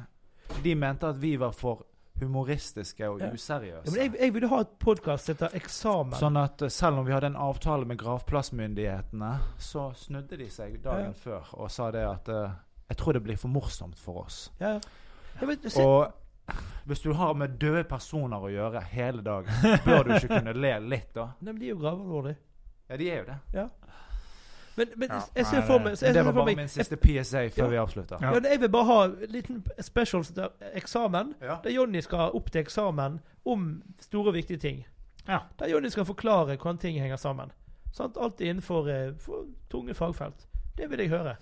de mente at vi var for humoristiske og
Ja. Ja, men
useriøse.
jeg, jeg ville ha et podkast som heter Eksamen.
Sånn at eh, selv om vi hadde en avtale med gravplassmyndighetene, så snudde de seg
Ja.
dagen før og sa det at eh, jeg tror det blir for morsomt
[laughs]
for oss.
Ja. Ja, men, se,
Og hvis du har med døde personer å gjøre hele dagen, bør du ikke kunne le litt da?
Nei, men de er jo gravalvorlige.
Ja, de er jo det.
Men, men
Ja,
jeg ser
nei,
for
det-
meg, så jeg
Men det
ser for
var bare
meg
min siste PSA før
Ja.
vi avslutter.
Ja.
Ja, men jeg vil bare ha en liten special som heter eksamen,
Ja.
der Jonny skal opp til eksamen om store, viktige ting.
Ja.
Der Jonny skal forklare hvordan ting henger sammen. Sant? Alt innenfor eh, for tunge fagfelt. Det vil jeg høre.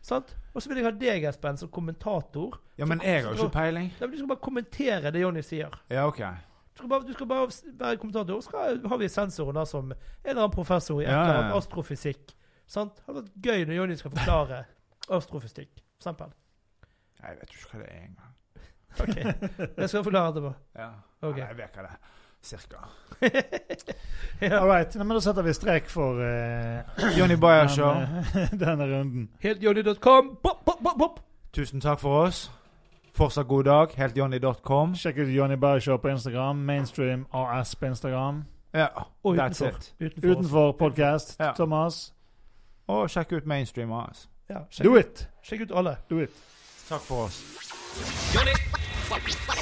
Sant? Og så vil jeg ha deg, Espen, som kommentator.
Ja, men jeg har jo ikke peiling.
Nei, men Du skal bare kommentere det Jonny sier.
Ja, ok.
Du skal bare, du skal bare s- være kommentator. Og så skal- har vi sensoren da som en eller annen professor i et
Ja, ja,
eller
ja.
annet astrofysikk. Sant? Det hadde vært gøy når Jonny skal forklare astrofysikk, for eksempel.
Nei, Jeg vet jo ikke hva det er engang. [laughs]
Ok, Jeg skal forklare etterpå.
Ja.
Ok.
Nei, Jeg vet hva det er. Cirka.
[laughs]
All right. Nei, men da setter vi strek for eh,
Johnny Bayer
eh,
Show,
den, eh, [laughs] denne runden.
Heltjohnny.com. Pop, pop, pop, pop.
tusen takk for oss. Fortsatt god dag. Heltjohnny.com.
Sjekk ut Johnny Bayer Show på Instagram. Mainstream AS på Instagram.
Ja,
Og
that's
utenfor.
it.
Utenfor. oss.
Utenfor podcast.
Ja.
Thomas,
Og sjekk ut Mainstream AS.
Ja, sjekk,
do it!
sjekk ut alle.
Do it.
Takk for oss.
Johnny.